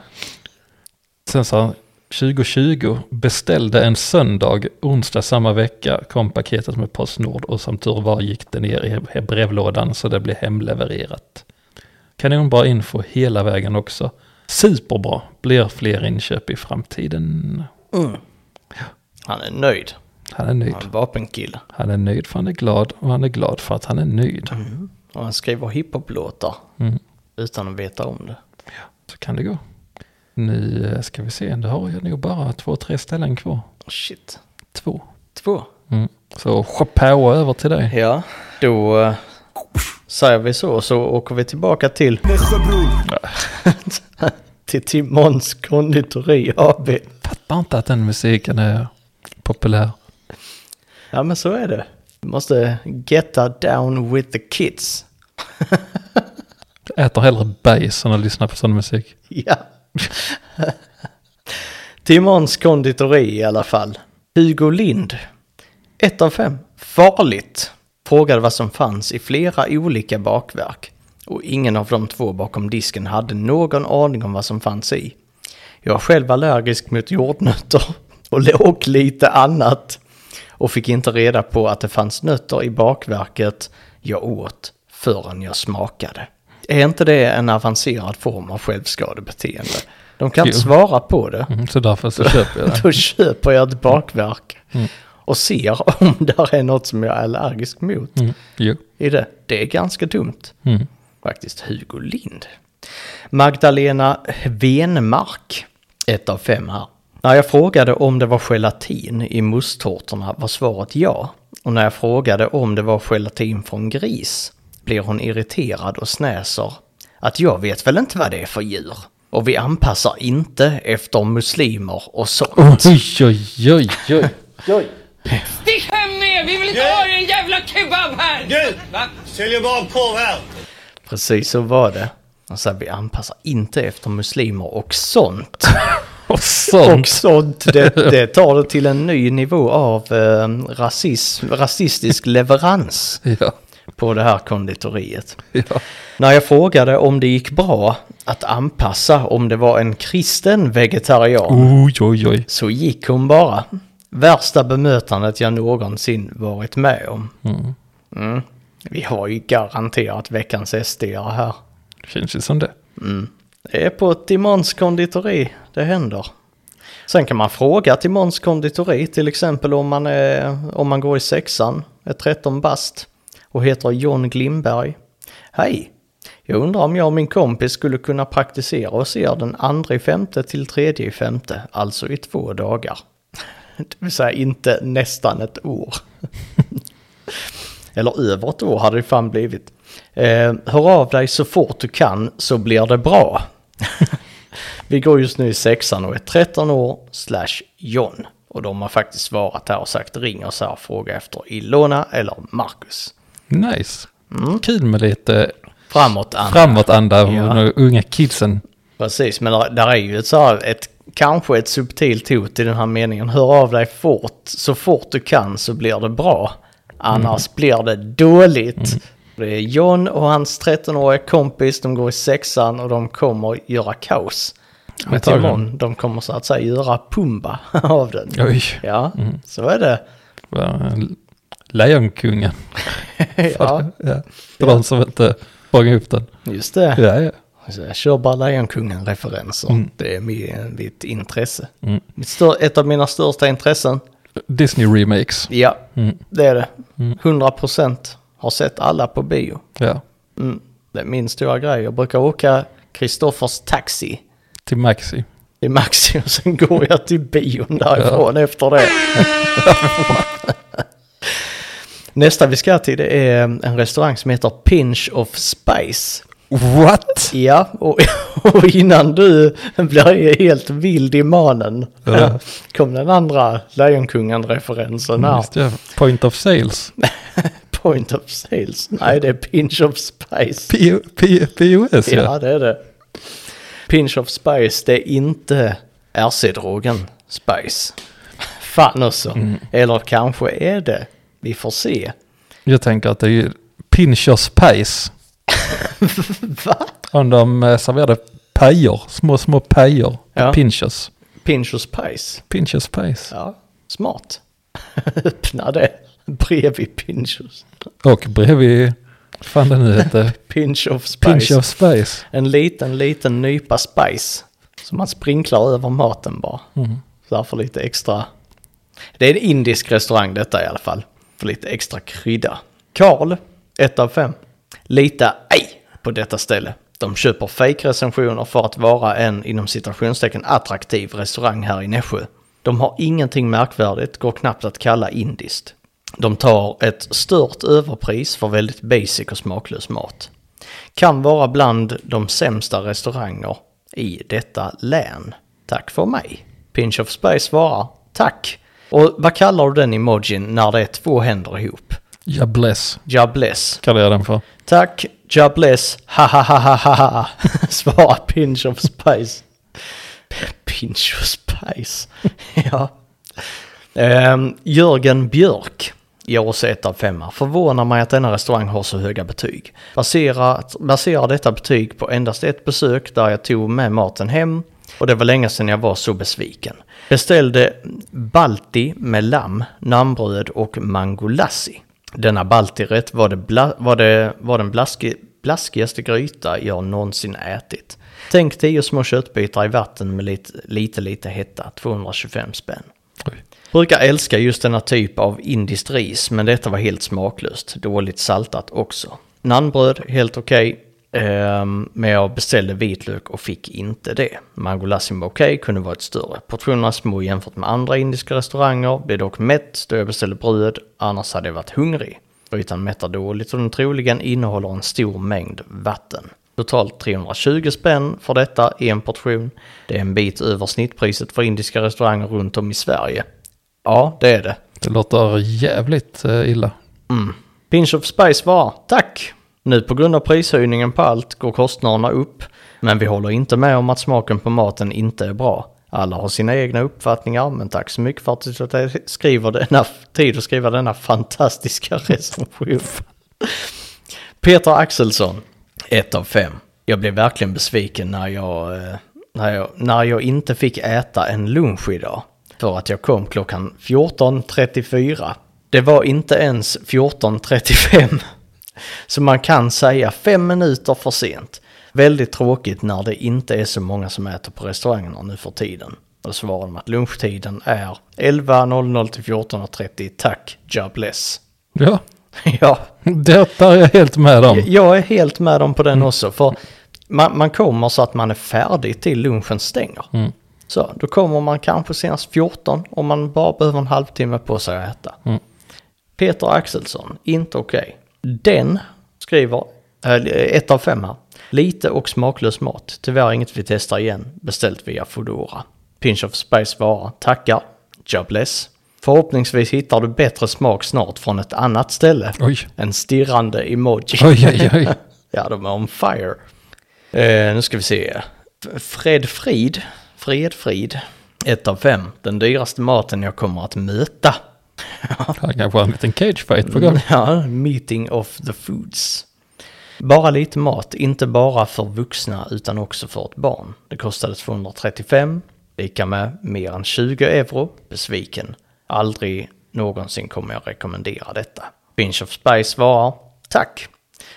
Sen sa han, 2020 beställde en söndag, onsdag samma vecka kom paketet med Postnord och som tur var gick det ner i he- brevlådan så det blev hemlevererat. Kanonbra info hela vägen också. Superbra, blir fler inköp i framtiden. Han är nöjd. Han är nöjd. Han är vapenkille. Han är nöjd för han är glad och han är glad för att han är nöjd. Och han skriver hiphop-låtar Mm. utan att veta om det. Så kan det gå. Nu eh, ska vi se, det har jag nog bara två, tre ställen kvar. Shit. Två. Två. Mm. Så chapeau över till dig. Ja, då eh, säger vi så så åker vi tillbaka till, Nässjö bror, till Timons konditori AB. Fattar inte att den musiken är populär. Ja men så är det. Du måste getta down with the kids. Äter hellre bajs än att lyssna på sån musik. Ja. Timons konditori i alla fall. Hugo Lind. 1 av 5. Farligt. Frågade vad som fanns i flera olika bakverk. Och ingen av de två bakom disken hade någon aning om vad som fanns i. Jag är själv allergisk mot jordnötter och låg lite annat. Och fick inte reda på att det fanns nötter i bakverket jag åt förrän jag smakade. Är inte det en avancerad form av självskadebeteende? De kan inte Jo. svara på det. Mm, så därför så köper jag det. Då köper jag Mm. ett bakverk och ser om där är något som jag är allergisk mot Mm. Jo. i det. Det är ganska dumt. Mm. Faktiskt Hugo Lind. Magdalena Venmark, ett av fem här. När jag frågade om det var gelatin i musttårtorna var svaret ja. Och när jag frågade om det var gelatin från gris blir hon irriterad och snäser att jag vet väl inte vad det är för djur. Och vi anpassar inte efter muslimer och sånt. Oj, oj, oj, oj. Stick hem med! Vi vill inte ha en jävla kebab här! Du! Va? Säljer bara korv här. Precis så var det. Alltså vi anpassar inte efter muslimer och sånt. Och sånt. Och sånt, det, det tar det till en ny nivå av eh, rasism, rasistisk leverans Ja. på det här konditoriet. ja. När jag frågade om det gick bra att anpassa om det var en kristen vegetarian Oj, oj, oj. så gick hon bara. Värsta bemötandet jag någonsin varit med om. Mm. Vi har ju garanterat veckans sd här. Känns ju som det. Det är på Timons konditori det händer. Sen kan man fråga Timons konditori till exempel om man, är, om man går i sexan, är 13 bast och heter John Glimberg. Hej! Jag undrar om jag och min kompis skulle kunna praktisera hos er den andra i femte till tredje i femte, alltså i två dagar. Det vill säga inte nästan ett år. Eller över ett år hade det fan blivit. Eh, hör av dig så fort du kan så blir det bra. Vi går just nu i sexan och är 13 år slash John. Och de har faktiskt svarat här och sagt ring oss här och fråga efter Ilona eller Marcus. Nice. Kul med lite Framåt Anna. framåtanda och Ja. de unga kidsen. Precis, men där, där är ju ett, så här, ett kanske ett subtilt hot i den här meningen. Hör av dig fort, så fort du kan så blir det bra. Annars Mm. blir det dåligt. Det är John och hans 13-åriga kompis, de går i sexan och de kommer göra kaos. Med Antagligen. Timon, de kommer så att säga göra Pumba av den. Oj, Mm. Ja, så är det. vad- Eh, Lejonkungen. ja, Ja. För de som inte fångade upp den. just det. Ja, ja. Så jag kör bara Lejonkungen-referenser. Det är min, mitt intresse. Mm. Mitt stör, ett av mina största intressen. Disney remakes. Ja, Mm. det är det. 100 procent har sett alla på bio. Ja. Mm. Det är min stora grej. Jag brukar åka Kristoffers taxi Till Maxi. i Maxi och sen går jag till bion därifrån efter det. Nästa vi ska till det är en restaurang som heter Pinch of Spice. What? Ja, och, och innan du blir helt vild i manen Ja. kom den andra Lejonkungen-referensen här. Just det. Point of sales. Point of sales. Nej, det är pinch of spice. P- P- POS ja. Ja, det är det. Pinch of spice, det är inte RC-drogen spice. Fan också. Mm. Eller kanske är det. Vi får se. Jag tänker att det är ju pinch of spice. Va? Om de eh, serverade pajer, små små pajer. Ja. Pinchos. Pinchos Pies. Pinchers Pies. Ja, smart. Öppna det bredvid Pinchos. Och bredvid, fan den nu heter, Pinch of Spice. Pinch of Spice. En liten, liten nypa spice som man sprinklar över maten bara. Så här får lite extra... Det är en indisk restaurang detta i alla fall. För lite extra krydda. Karl, 1 av 5. Lita ej på detta ställe. De köper fake-recensioner för att vara en inom citationstecken attraktiv restaurang här i Nässjö. De har ingenting märkvärdigt, går knappt att kalla indiskt. De tar ett stört överpris för väldigt basic och smaklös mat kan vara bland de sämsta restauranger i detta län. Tack för mig. Pinch of Spice svarar tack. Och vad kallar du den emojin när det är två händer ihop? Ja, bless Jabless. kallar jag den för. Tack, Jabless, ha ha ha ha ha ha. Svarar Pinch of Spice. Pinch of Spice. ja. Ehm, Jörgen Björk ger oss ett av femma. Förvånar mig att denna restaurang har så höga betyg. Baserat, baserar detta betyg på endast ett besök där jag tog med maten hem och det var länge sedan jag var så besviken. Beställde balti med lamm, namnbröd och mangolassi. Denna baltirätt var, det bla, var, det, var den blaski, blaskigaste gryta jag någonsin ätit. Tänk 10 små köttbitar i vatten med lite, lite, lite hetta, 225 spänn. Brukar älska just denna typ av indiskt ris, men detta var helt smaklöst. Dåligt saltat också. Nannbröd, helt okej. Ehm, men jag beställde vitlök och fick inte det. Mangolassi var okej, kunde varit större. Portionerna små jämfört med andra indiska restauranger. Blev dock mätt då jag beställde bröd, annars hade jag varit hungrig. Grytan mättar dåligt och den troligen innehåller en stor mängd vatten. Totalt 320 spänn för detta i en portion. Det är en bit över snittpriset för indiska restauranger runt om i Sverige. Ja, det är det. Det låter jävligt eh, illa. Pinch of Spice var tack. Nu på grund av prishöjningen på allt går kostnaderna upp. Men vi håller inte med om att smaken på maten inte är bra. Alla har sina egna uppfattningar, men tack så mycket för att du tog dig skriver denna, tid att skriva denna fantastiska recension. Peter Axelsson, 1 av 5. Jag blev verkligen besviken när jag, eh, när, jag, när jag inte fick äta en lunch idag. För att jag kom klockan 14.34. Det var inte ens 14.35. Så man kan säga fem minuter för sent. Väldigt tråkigt när det inte är så många som äter på restaurangerna nu för tiden. Då svarar de att lunchtiden är 11.00 till 14.30. Tack, jobless. Ja, ja. detta är jag helt med om. Jag är helt med dem på den också. För man, man kommer så att man är färdig till lunchen stänger. Så då kommer man kanske senast 14 om man bara behöver en halvtimme på sig att äta. Peter Axelsson, inte okej. Den skriver, äh, ett av fem här. Lite och smaklös mat. Tyvärr inget vi testar igen. Beställt via Foodora. Pinch of Spice vara. Tackar. Jobless. Förhoppningsvis hittar du bättre smak snart från ett annat ställe. Oj. En stirrande emoji. Oj, oj, oj. Ja, de är on fire. Eh, nu ska vi se. F- Fred Frid. Fred Frid. Ett av fem. Den dyraste maten jag kommer att möta. Här kanske har en liten cage fight på gång. Ja, meeting of the foods. Bara lite mat, inte bara för vuxna utan också för ett barn. Det kostade 235, lika med mer än 20 euro. Besviken. Aldrig någonsin kommer jag rekommendera detta. Pinch of Spice svarar tack.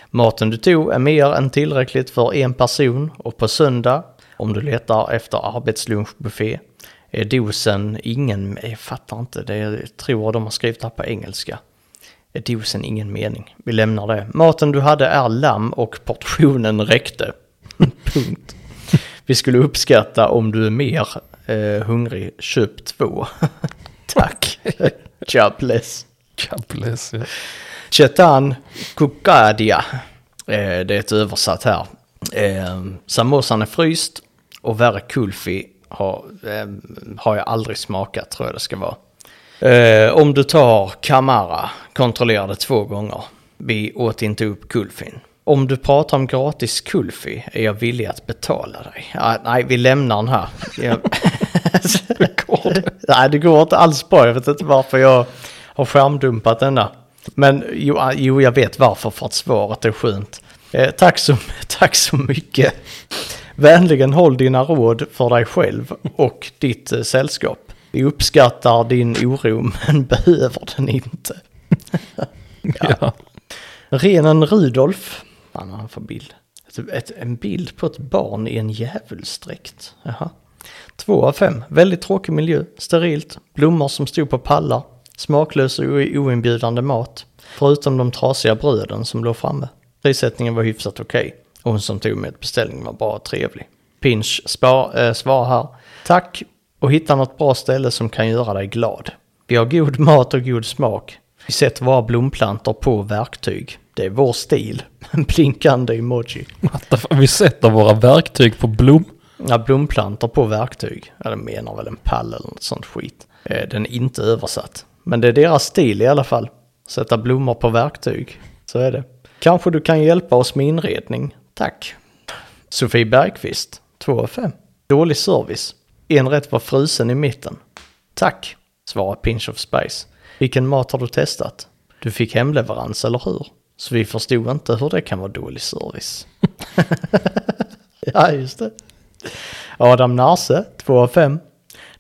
Maten du tog är mer än tillräckligt för en person och på söndag, om du letar efter arbetslunchbuffé, är dosen ingen... Jag fattar inte, det jag tror de har skrivit det här på engelska är dosen ingen mening. Vi lämnar det. Maten du hade är lamm och portionen räckte. Punkt. Vi skulle uppskatta om du är mer eh, hungrig. Köp två. Tack. Jobless. God bless you. Chetan Kukadia. Eh, det är ett översatt här. Eh, samosan är fryst och värre kulfi har, eh, har jag aldrig smakat tror jag det ska vara. Eh, om du tar Kamara, kontrollerade två gånger. Vi åt inte upp kulfin. Om du pratar om gratis kulfi är jag villig att betala dig. Ah, nej, vi lämnar den här. Jag... nej, det går inte alls bra. Jag vet inte varför jag har skärmdumpat denna. Men jo, ah, jo jag vet varför, för att svaret är skönt. Eh, tack, så, tack så mycket. Vänligen håll dina råd för dig själv och ditt eh, sällskap. Vi uppskattar din oro men behöver den inte. Ja. Renen Rudolf. Fan vad han för bild. Ett, ett, en bild på ett barn i en djävulsdräkt. Jaha. Två av fem. Väldigt tråkig miljö. Sterilt. Blommor som stod på pallar. Smaklös och o- oinbjudande mat. Förutom de trasiga bröden som låg framme. Prissättningen var hyfsat okej. Och hon som tog med beställningen var bara trevlig. Pinch spar, eh, svar här. Tack och hitta något bra ställe som kan göra dig glad. Vi har god mat och god smak. Vi sätter våra blomplantor på verktyg. Det är vår stil. En blinkande emoji. What the fuck? Vi sätter våra verktyg på blom. Ja, blomplantor på verktyg. Ja, den menar väl en pall eller något sånt skit. Eh, Den är inte översatt. Men det är deras stil i alla fall. Sätta blommor på verktyg. Så är det. Kanske du kan hjälpa oss med inredning. Tack. Sofie Bergqvist, 2 av 5. Dålig service. En rätt var frusen i mitten. Tack, svarar Pinch of Spice. Vilken mat har du testat? Du fick hemleverans, eller hur? Så vi förstod inte hur det kan vara dålig service. ja, just det. Adam Narse, 2 av 5.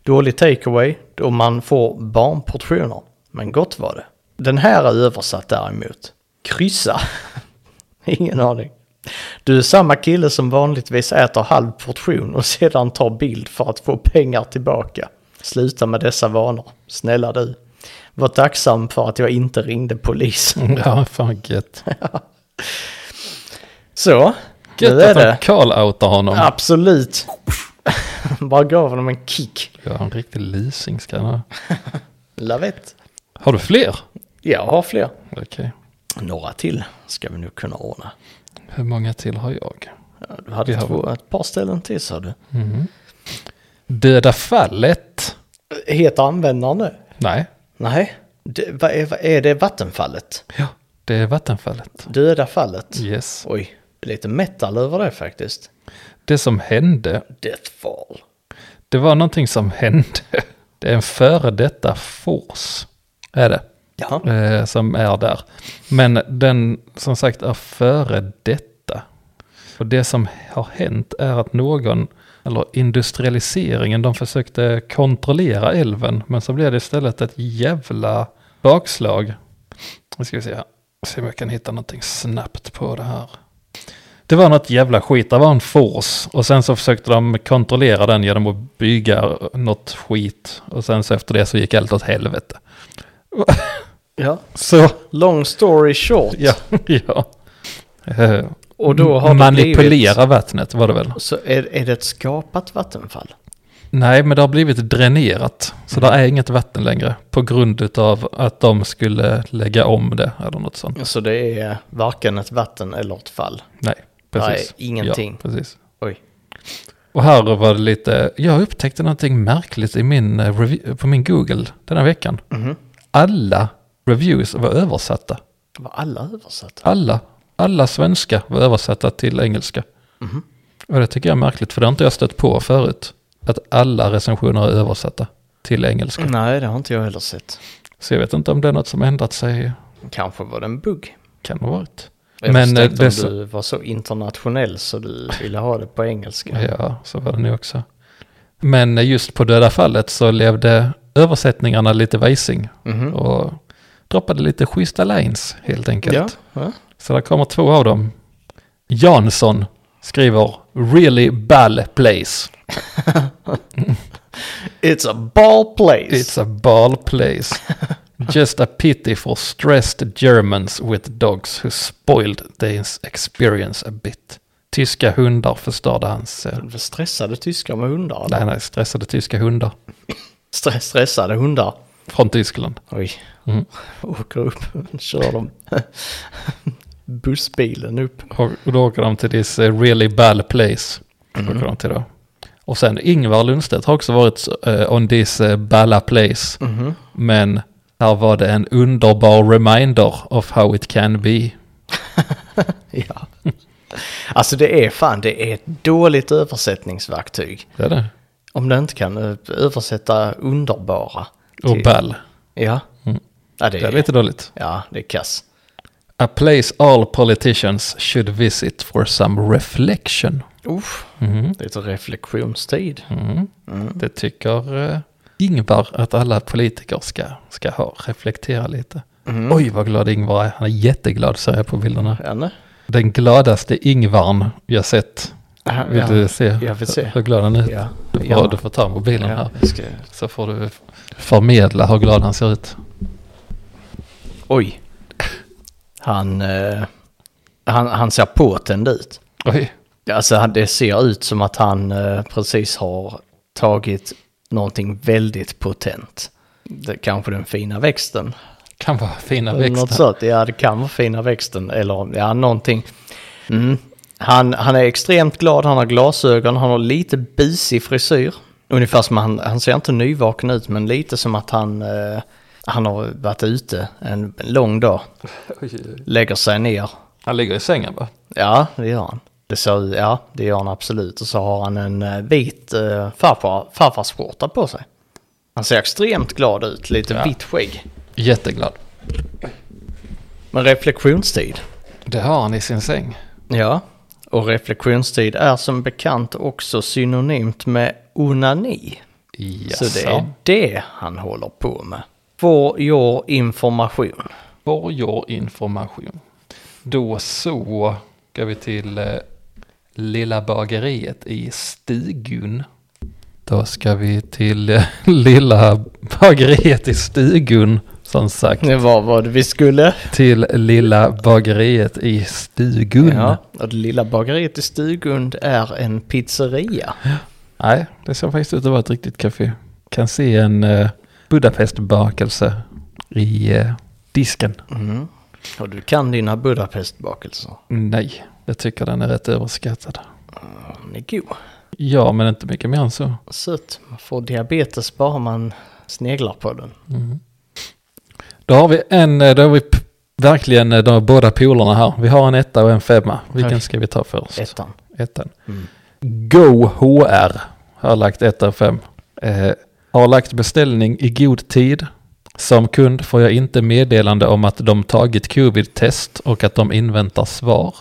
Dålig takeaway då man får barnportioner. Men gott var det. Den här är översatt däremot. Kryssa. Ingen aning. Du är samma kille som vanligtvis äter halv portion och sedan tar bild för att få pengar tillbaka. Sluta med dessa vanor. Snälla du. Var tacksam för att jag inte ringde polisen. Mm, Ja, fan gött. Så, nu Gött är att de det. call-outar honom. Ja. Absolut. Bara gav honom en kick. en riktig lysing ska han ha. Lavett. Har du fler? Jag har fler. Okej. Några till ska vi nu kunna ordna. Hur många till har jag? Ja, Du hade Vi har- två, ett par ställen till sa du. Döda fallet? Heter användaren det? Nej. Nej. Det, vad är, vad är det vattenfallet? Ja, det är vattenfallet. Döda fallet? Yes. Oj, det är lite metal över det faktiskt. Det som hände, Deathfall. det var någonting som hände. Det är en före detta force. Är det. Ja. eh, som är där. Men den som sagt är före detta. Och det som har hänt är att någon, eller industrialiseringen, de försökte kontrollera älven. Men så blev det istället ett jävla bakslag. Nu ska vi se här. Se om jag kan hitta någonting snabbt på det här. Det var något jävla skit, det var en force. Och sen så försökte de kontrollera den genom att bygga något skit. Och sen så efter det så gick allt åt helvete. ja. Så Long story short. Ja, ja. Eh, Och då har det manipulera blivit... vattnet var det väl? Så är, är det ett skapat vattenfall? Nej, men det har blivit dränerat. Så där är inget vatten längre. På grund av att de skulle lägga om det eller något sånt. Så det är varken ett vatten eller ett fall? Nej, precis. Nej, ingenting. Ja, precis. Oj. Och här var det lite, jag upptäckte någonting märkligt i min, eh, review, på min Google den här veckan. Mhm. Alla reviews var översatta. Var alla översatta? Alla, alla svenska var översatta till engelska. Mhm. Och det tycker jag är märkligt, för det har inte jag stött på förut. Att alla recensioner är översatta till engelska. Nej, det har inte jag heller sett. Så jag vet inte om det är något som ändrat sig. Kanske var det en bugg. Kan ha varit. Jag Men eh, förstod det om så, du var så internationell så du ville ha det på engelska. ja, så var det nu också. Men eh, just på döda fallet så levde översättningarna lite vajsing. Mhm. Och droppade lite schyssta lines helt enkelt. Ja, ja. Så där kommer två av dem. Jansson skriver “Really ball place”. It's a ball place. It's a ball place. Just a pity for stressed Germans with dogs who spoiled their experience a bit. Tyska hundar förstörde hans... eh, Vad Stressade tyskar med hundar? eller? Nej, nej, stressade tyska hundar Stress- stressade hundar. från Tyskland. Oj. Mm. Åker upp, kör de bussbilen upp. Och och då åker de till this eh, really bad place. Åker de till då. Och sen Ingvar Lundstedt har också varit eh, on this eh, balla place. Men här var det en underbar reminder of how it can be. Ja. Alltså det är fan, det är ett dåligt översättningsverktyg. Det är det. Om du inte kan eh, översätta underbara. Och till- ball. Mm. Ja. ja det, Det är är, lite dåligt. ja, det är kass. A place all politicians should visit for some reflection. Uff, Mhm. lite reflektionstid. Mm. Det tycker eh, Ingvar att alla politiker ska, ska ha. Reflektera lite. Mm. Oj, vad glad Ingvar är. Han är jätteglad ser jag på bilderna. Janne? Den gladaste Ingvarn jag sett. Ja, Vill du se, jag vill se. hur glad han är? Ja, Du, gärna. får, du får ta mobilen Ja, här. jag ska... Så får du förmedla hur glad han ser ut. Oj. Han, eh, han, han ser påtänd ut. Oj, Alltså han, det ser ut som att han eh, precis har tagit någonting väldigt potent. Det, kanske den fina växten. kan vara fina Eller Något växter. sånt. Ja, det kan vara fina växten eller ja, någonting. Mm. Han, han är extremt glad, han har glasögon, han har lite busig frisyr. Ungefär som han, han ser inte nyvaken ut men lite som att han, eh, han har varit ute en, en lång dag. Lägger sig ner. Han ligger i sängen va? Ja, det gör han. Det ser, ut- ja, det gör han absolut. Och så har han en eh, vit eh, farfar, farfarsskjorta på sig. Han ser extremt glad ut, lite Ja. vitt skägg. Jätteglad. Men reflektionstid. Det har han i sin säng. Ja, och reflektionstid är som bekant också synonymt med onani. Jaså. Så det är det han håller på med. För your information. borgar information. Då så ska vi till eh, Lilla bageriet i Stigun. Då ska vi till eh, Lilla bageriet i Stigun, som sagt. Det var vad vi skulle. Till Lilla bageriet i Stigun. Ja, och det lilla bageriet i Stugund är en pizzeria. Nej, det ser faktiskt ut att vara ett riktigt café. Kan se en eh, Budapestbakelse i eh, disken. Mm. Och du kan dina Budapestbakelser. Nej, jag tycker den är rätt överskattad. Den är god. Ja, men inte mycket mer än så. Sött. Man får diabetes bara man sneglar på den. Då har vi en, eh, då har vi p- verkligen eh, de båda polerna här. Vi har en etta och en femma. Vilken Okej. ska vi ta först? Ettan. Ettan. Go HR har lagt etta och fem. Eh, har lagt beställning i god tid. Som kund får jag inte meddelande om att de tagit covid-test och att de inväntar svar.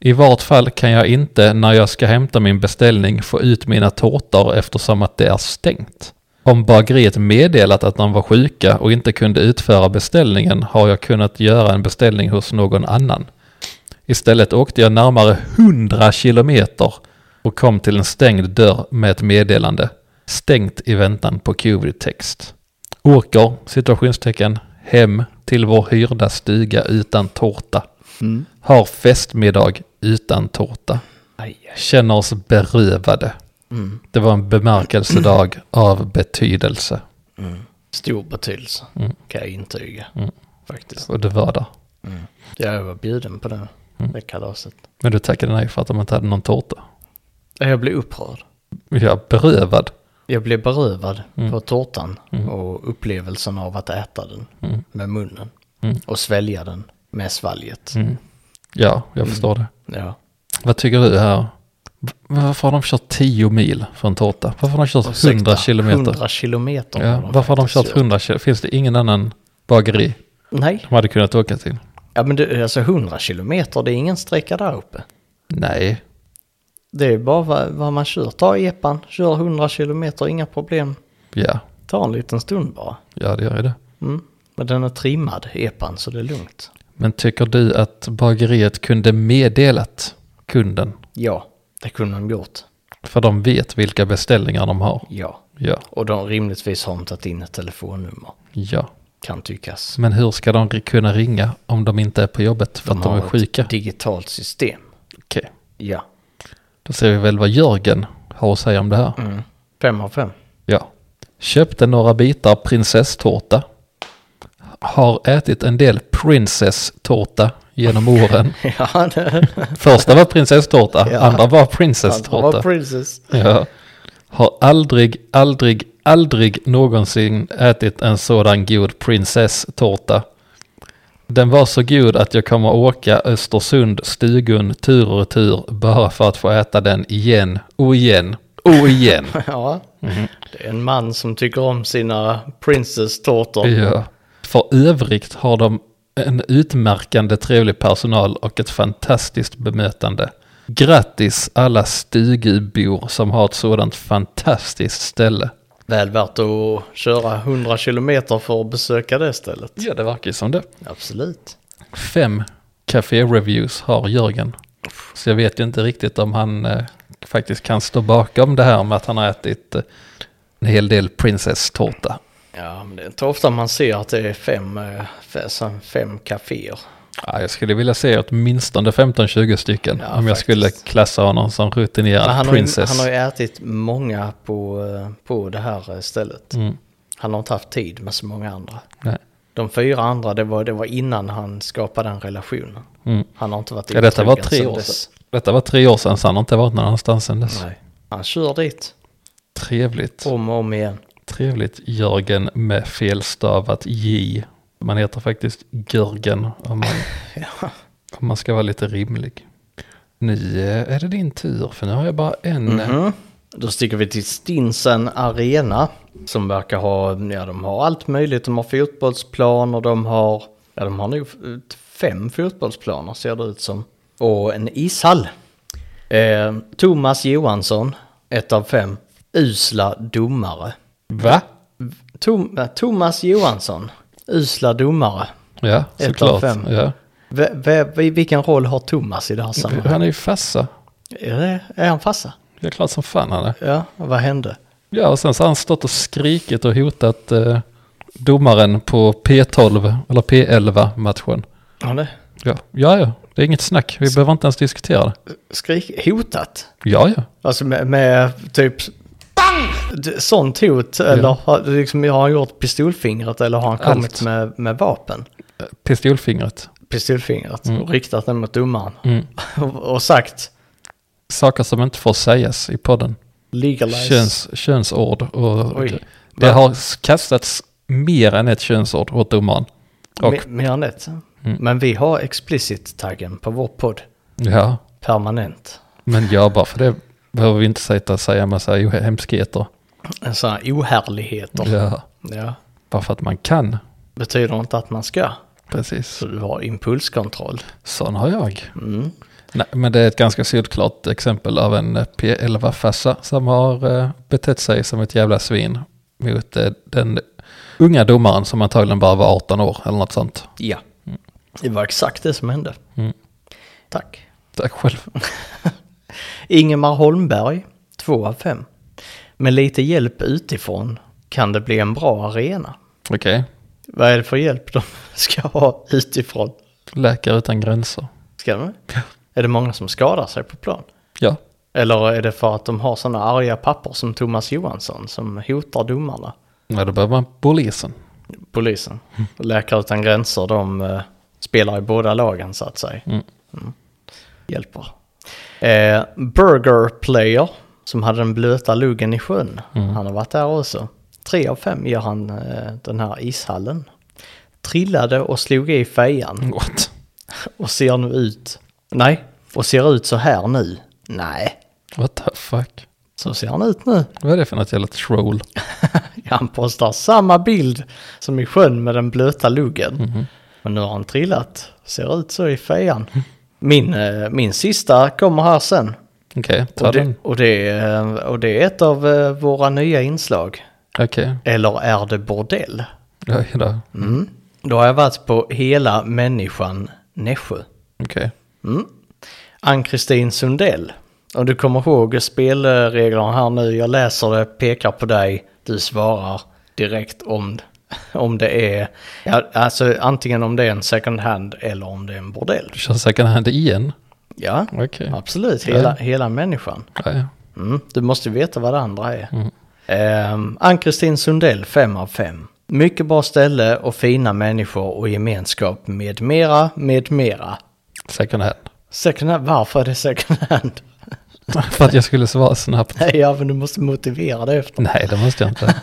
I vart fall kan jag inte när jag ska hämta min beställning få ut mina tårtor eftersom att det är stängt. Om bageriet meddelat att de var sjuka och inte kunde utföra beställningen har jag kunnat göra en beställning hos någon annan. Istället åkte jag närmare 100 kilometer och kom till en stängd dörr med ett meddelande. Stängt i väntan på covid-text. Åker, situationstecken, hem till vår hyrda stuga utan tårta. Har festmiddag utan tårta. Aj, aj. Känner oss berövade. Det var en bemärkelsedag av betydelse. Stor betydelse. Kan jag intyga. Faktiskt. Och det var där. Jag var bjuden på det. Det kalaset. Men du tackade nej för att de inte hade någon tårta. Jag blev upprörd. Ja, berövad. Jag blev berövad Mm. på tårtan och upplevelsen av att äta den Mm. med munnen. Och svälja den med svalget. Mm. Ja, jag förstår det. Ja. Vad tycker du här? V- Varför har de kört 10 mil för en tårta? Varför har de kört 100 kilometer? 100 kilometer. Ja, varför har de faktiskt kört gjort. 100 kilometer? Finns det ingen annan bageri Nej, de hade kunnat åka till? ja, men det, alltså 100 kilometer det är ingen sträcka där uppe. Nej, Det är bara vad, vad man kör. Ta epan, kör 100 kilometer, inga problem. ja, Ta en liten stund bara. ja det gör ju det. Mm. Men den är trimmad, epan, så det är lugnt. Men tycker du att bageriet kunde meddelat kunden? Ja, det kunde de gjort. För de vet vilka beställningar de har. Ja. Ja, Och de rimligtvis har de tagit in ett telefonnummer, ja. kan tyckas. Men hur ska de ri- kunna ringa om de inte är på jobbet för att de har är sjuka? ett digitalt system. Okej, Ja. då ser vi väl vad Jörgen har att säga om det här. Fem av fem. Ja. Köpte några bitar prinsesstårta. Har ätit en del prinsesstårta genom åren. ja, det Första var prinsesstårta, Ja. andra var var prinsesstårta. princess. Ja. Har aldrig, aldrig, aldrig någonsin ätit en sådan god prinsesstårta. Den var så god att jag kommer åka Östersund, Stugun, tur och retur bara för att få äta den igen och igen och igen. Ja. Mm-hmm. Det är en man som tycker om sina princess-tårtor. Ja. För övrigt har de en utmärkande trevlig personal och ett fantastiskt bemötande. Grattis alla stugubor som har ett sådant fantastiskt ställe. Väl värt att köra 100 kilometer för att besöka det stället. Ja, det verkar ju som det. Absolut. Fem café-reviews har Jörgen. Så jag vet ju inte riktigt om han eh, faktiskt kan stå bakom det här med att han har ätit eh, en hel del prinsesstårta. Ja, men det är inte ofta man ser att det är fem, eh, f- som fem kaféer. Ja, jag skulle vilja se åtminstone 15-20 stycken Ja, om jag faktiskt. skulle klassa honom som Men han, rutinerad har ju, han prinsess. har ju ätit många på, eh, på det här eh, stället. Mm. Han har inte haft tid med så många andra. Nej. De fyra andra, det var, det var innan han skapade den relationen. Han har inte varit Mm. Ja, detta var otrogen tre sedan år dess. sedan. Detta var tre år sedan, så han har inte varit någon annanstans sedan dess. Nej. Han kör dit Trevligt. om och om igen. Trevligt Jörgen med felstavat J. Man heter faktiskt Görgen om man, Ja. om man ska vara lite rimlig. Nu eh, är det din tur för nu har jag bara en. Mm. Då sticker vi till Stinsen Arena som verkar ha, ja de har allt möjligt. De har fotbollsplan och de har, ja de har nog f- fem fotbollsplaner ser det ut som. Och en ishall. Eh, Thomas Johansson, ett av fem, usla domare. Va? Tom, eh, Thomas Johansson, usla domare. Ja, Ett av såklart. fem. Ja. V- v- v- vilken roll har Thomas i det här sammanhanget? Han är ju fassa. Är, det- är han farsa? Det är klart som fan han är. Ja, vad hände? Ja, och sen så har han stått och skrikit och hotat eh, domaren på P12 eller P11-matchen. Har det Ja. ja, ja, det är inget snack. Vi behöver inte ens diskutera det. skrik, hotat? Ja, ja. Alltså med, med typ... D- Sånt hot? Eller har, liksom, har han gjort pistolfingret eller har han kommit Allt. med, med vapen? Pistolfingret. Pistolfingret och riktat den mot domaren. och, och sagt Saker som inte får sägas i podden. legalize. Köns, könsord. Och Oj. det har kastats mer än ett könsord åt domaren. Och, Me- Mer än ett. Men vi har explicit-taggen på vår podd ja, permanent. men ja, bara för det behöver vi inte säga, säga massa hemskheter. En sån här ohärligheter. Ja, Ja. bara för att man kan. Betyder inte att man ska. Precis. Så du har impulskontroll. Sån har jag. Nej, men det är ett ganska solklart exempel av en eh, P11-fassa som har eh, betett sig som ett jävla svin mot eh, den unga domaren som antagligen bara var 18 år eller något sånt. Ja. Mm. Det var exakt det som hände. Tack. Tack själv. Ingemar Holmberg, 2 av 5. Med lite hjälp utifrån kan det bli en bra arena. Okej, Vad är det för hjälp de ska ha utifrån? Läkare utan gränser. Ska de? Är det många som skadar sig på plan? Ja, Eller är det för att de har sådana arga papper som Thomas Johansson som hotar domarna? ja då behöver man polisen. Polisen. Läkare utan gränser, de eh, spelar i båda lagen så att säga. Mm. Hjälper. Eh, Burger Player, som hade den blöta luggen i sjön. Han har varit där också. Tre av fem gör han eh, den här ishallen. Trillade och slog i fejan What? och ser nu ut... Nej, och ser ut så här nu. Nej, What the fuck? så ser han ut nu. Vad är det för något jävla troll? Han postar samma bild som i sjön med den blöta luggen. Mhm. Men nu har han trillat. Ser ut så i fejan. Min, eh, min sista kommer här sen. Okej, ta Och det, den. och, det, eh, och det är ett av eh, våra nya inslag. Okej, Eller är det bordell? Oj då. Då har jag varit på Hela Människan Nässjö. Okej. Ann-Kristin Sundell. Om du kommer ihåg spelreglerna här nu. Jag läser det, pekar på dig, du svarar direkt om, om det är... Ja, alltså antingen om det är en second hand eller om det är en bordell. Du kör second hand igen? Ja, Okej. absolut. Hela, hela människan. Ja, ja. Mm, du måste veta vad det andra är. Ehm, Ann-Kristin Sundell, 5 av 5. Mycket bra ställe och fina människor och gemenskap med mera, med mera. Second hand. Second hand, varför är det second hand? för att jag skulle svara snabbt. Nej, ja, men du måste motivera det efter. Nej, det måste jag inte.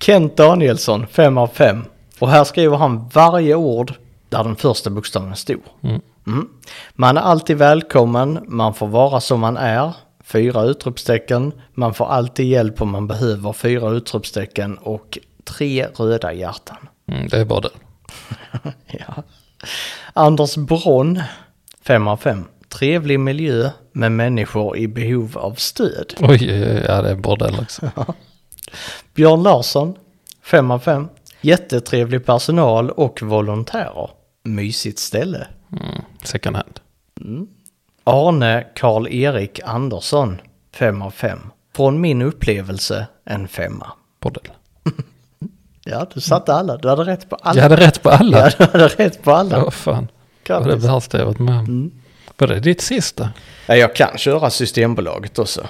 Kent Danielsson, 5 av 5. Och här skriver han varje ord där den första bokstaven stod. Mm. Man är alltid välkommen, man får vara som man är. Fyra utropstecken. Man får alltid hjälp om man behöver. Fyra utropstecken och tre röda hjärtan. Mm, det är bara det. Ja. Anders Bronn, 5 av 5. Trevlig miljö med människor i behov av stöd. Oj, oj, oj, ja det är bordell också. Björn Larsson, 5 av 5. Jättetrevlig personal och volontärer. Mysigt ställe. Second hand. Arne Karl-Erik Andersson, 5 av 5. Från min upplevelse, en femma. Bordell. Ja, du satte alla. Du hade rätt på alla. Jag hade rätt på alla. Ja, du hade rätt på alla. Ja, vad fan. Det var det Grattis. värsta jag varit med om. Var det ditt sista? Ja, jag kan köra Systembolaget också.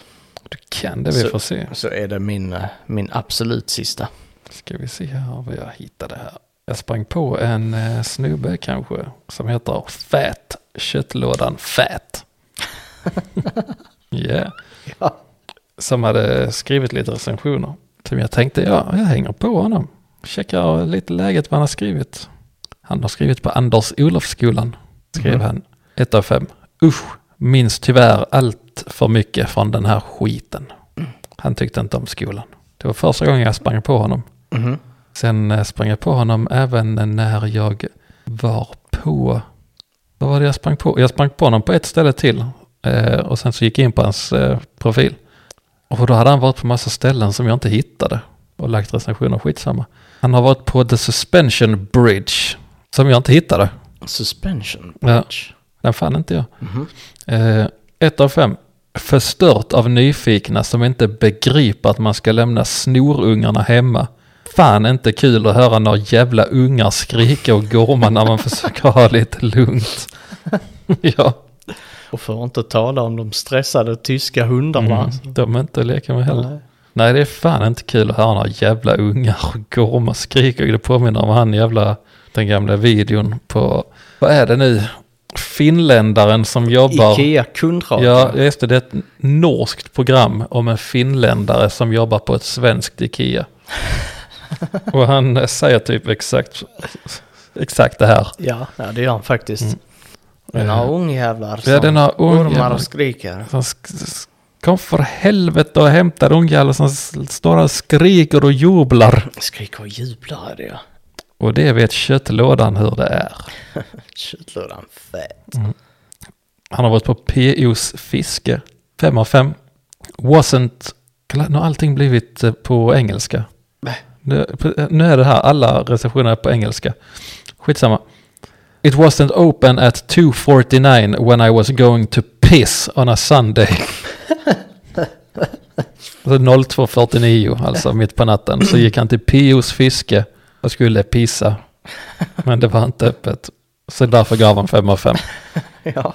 Du kan det, vi Så- får se. Så är det min, eh, min absolut sista. Ska vi se här vad jag hittade här. Jag sprang på en eh, snubbe kanske som heter Fat. Köttlådan Fat. Ja. Ja. Som hade skrivit lite recensioner. Som jag tänkte, ja, jag hänger på honom. Checkar lite läget vad han har skrivit. Han har skrivit på Anders Olofsskolan. Skrev han. 1 av 5. Usch, minns tyvärr allt för mycket från den här skiten. Han tyckte inte om skolan. Det var första gången jag sprang på honom. Sen eh, sprang jag på honom även när jag var på... Vad var det jag sprang på? Jag sprang på honom på ett ställe till. eh, Och sen så gick jag in på hans eh, profil. Och då hade han varit på massa ställen som jag inte hittade. Och lagt recensioner, skitsamma. Han har varit på The Suspension Bridge. Som jag inte hittade. Suspension. Ja, den fann inte jag. Eh, ett av fem. Förstört av nyfikna som inte begriper att man ska lämna snorungarna hemma. Fan inte kul att höra några jävla ungar skrika och gorma när man försöker ha lite lugnt. ja, Och för att inte tala om de stressade tyska hundarna. mm. de är inte att leka med heller. Nej. det är fan inte kul att höra några jävla ungar och gorma och skrika. Det påminner om han jävla, den gamla videon på, vad är det nu, finländaren som jobbar. Ikea kundradio. Ja, just det. Det är ett norskt program om en finländare som jobbar på ett svenskt Ikea. Och han eh, säger typ exakt, exakt det här. ja, ja, det gör han faktiskt. Den Mm. Eh, har ungjävlar som den har ungjävlar. ormar och skriker. Som sk- sk- kom för helvete och hämtar ungjäveln som s- står och skriker och jublar. Skriker och jublar är det ja. Och det vet köttlådan hur det är. Tjutlådan fett. Han har varit på POs fiske. fem av fem Wasn't... Nu har allting blivit eh, på engelska. Nu, eh, nu är det här, alla recensioner är på engelska. Skitsamma. It wasn't open at 2.49 when I was going to piss on a Sunday. alltså 02.49, alltså mitt på natten, så gick han till POs fiske och skulle pissa. Men det var inte öppet. Så därför gav han fem av fem Ja.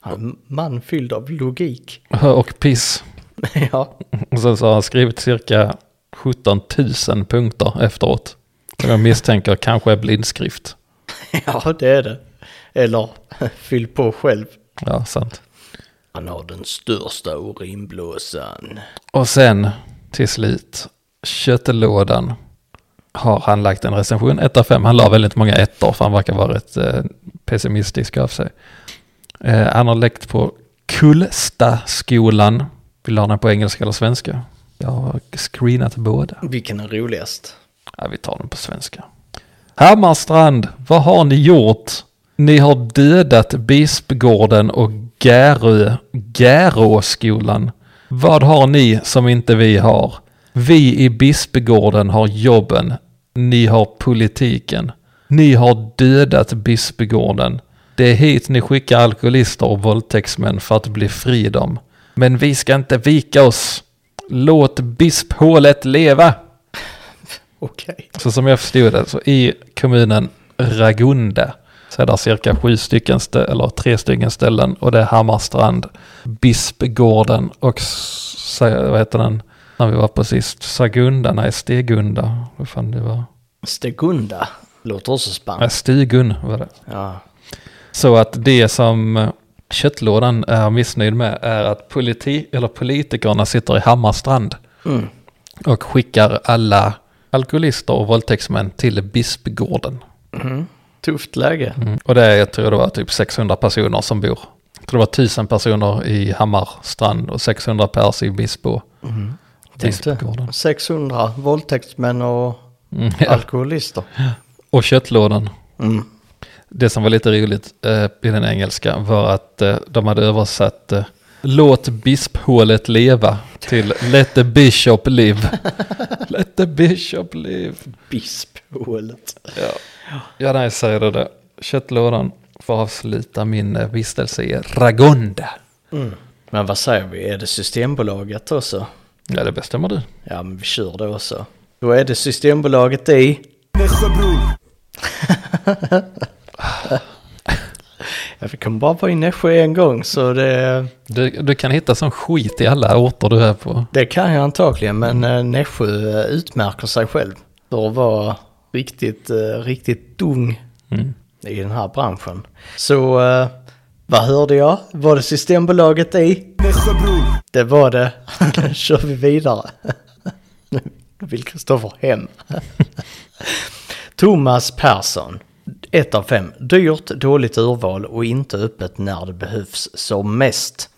Han är en man fylld av logik. Och piss. ja. Och sen så har han skrivit cirka 17 000 punkter efteråt. Som jag misstänker kanske är blindskrift. ja, det är det. Eller fyll på själv. Ja, sant. Han har den största urinblåsan. Och sen till slut, köttelådan har han lagt en recension, 1 av 5. Han la väldigt många ettor för han verkar vara rätt eh, pessimistisk av sig. Eh, han har läckt på Kullstaskolan. Vill du ha den på engelska eller svenska? Jag har screenat båda. Vilken är roligast? Ja, vi tar den på svenska. Hammarstrand, vad har ni gjort? Ni har dödat Bispgården och Gärö, Gäråskolan. Vad har ni som inte vi har? Vi i Bispgården har jobben. Ni har politiken. Ni har dödat Bispgården. Det är hit ni skickar alkoholister och våldtäktsmän för att bli fri dem. Men vi ska inte vika oss. Låt bisphålet leva! Okej. Så som jag förstod det, så i kommunen Ragunda så är det cirka sju stycken, stä- eller tre stycken ställen och det är Hammarstrand, Bispgården och, s- vad heter den, när vi var på sist, Sagunda, nej Stegunda, vad fan det var, Stegunda. Låter också spanskt. nej Stigun var det. Ja. Så att det som eh, köttlådan är missnöjd med är att politi eller politikerna sitter i Hammarstrand och skickar alla alkoholister och våldtäktsmän till Bispgården. Tufft läge. Mm. Och det är, jag tror det var typ 600 personer som bor. Jag tror det var 1000 personer i Hammarstrand och 600 pers i Bispo. Tänkte Bispgården. 600 våldtäktsmän och Mm, ja. alkoholister. Och köttlådan. Det som var lite roligt eh, i den engelska var att eh, de hade översatt eh, Låt bisphålet leva till Let the bishop live. Let the bishop live. Bisphålet. Ja, nej, säger du det. Köttlådan får avsluta min eh, vistelse i Ragonda. Men vad säger vi, är det Systembolaget också? Ja, det bestämmer du. Ja, men vi kör det också. Då är det Systembolaget i... Nässjö bror Jag kommer bara vara i Nässjö en gång, så det, du. Du kan hitta sån skit i alla orter du är på. det kan jag antagligen. Men eh, Nässjö eh, utmärker sig själv för att vara riktigt, eh, riktigt dung i den här branschen. Så eh, vad hörde jag? Var det Systembolaget i? Nässjö bror Det var det. Nu kör vi vidare. Nu vill Kristoffer hem. Thomas Persson. 1 av 5. Dyrt, dåligt urval och inte öppet när det behövs som mest.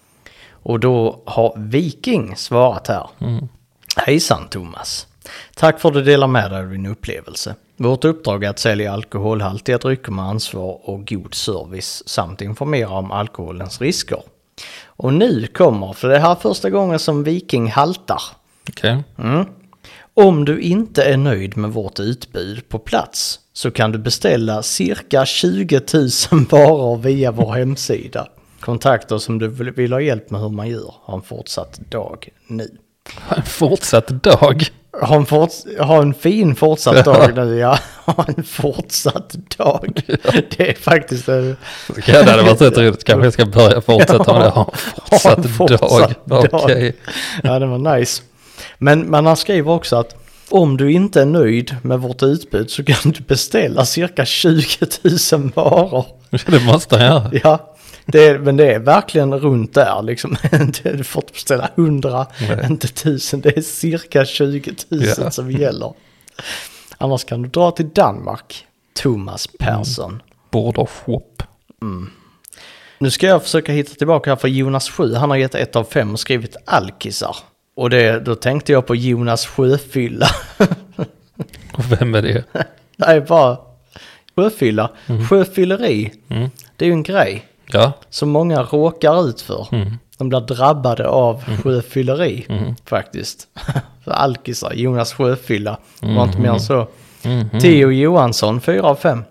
Och då har Viking svarat här. Hejsan Thomas. Tack för att du delar med dig av din upplevelse. Vårt uppdrag är att sälja alkoholhaltiga drycker med ansvar och god service samt informera om alkoholens risker. Och nu kommer, för det här är första gången som Viking haltar. Okej. Om du inte är nöjd med vårt utbud på plats så kan du beställa cirka 20 000 varor via vår hemsida. Kontakta oss om du vill vill ha hjälp med hur man gör. Ha en fortsatt dag nu. En fortsatt dag. Ha en, forts- ha en fin fortsatt dag nu, ja. Ha en fortsatt dag. Det är faktiskt en... Ja, det hade varit rätt roligt. Kanske jag ska börja fortsätta med det. Ha en Ha fortsatt, en fortsatt dag. dag. Okej. Ja, det var nice. Men, men han skriver också att om du inte är nöjd med vårt utbud så kan du beställa cirka 20 000 varor. Det måste jag göra. Ja, det är, men det är verkligen runt där liksom. Du får inte beställa 100, Nej. inte 1000. Det är cirka 20 000 Ja. som gäller. Annars kan du dra till Danmark, Thomas Persson. Border shop. Nu ska jag försöka hitta tillbaka här för Jonas 7, han har gett ett av fem och skrivit alkisar. Och det, då tänkte jag på Jonas Sjöfylla. Och vem är det? Nej, bara sjöfylla. Sjöfylleri, det är ju en grej Ja, som många råkar ut för. De blir drabbade av sjöfylleri faktiskt. För Alkisar, Jonas Sjöfylla, Det var inte mer än så. Theo Johansson, 4 av 5.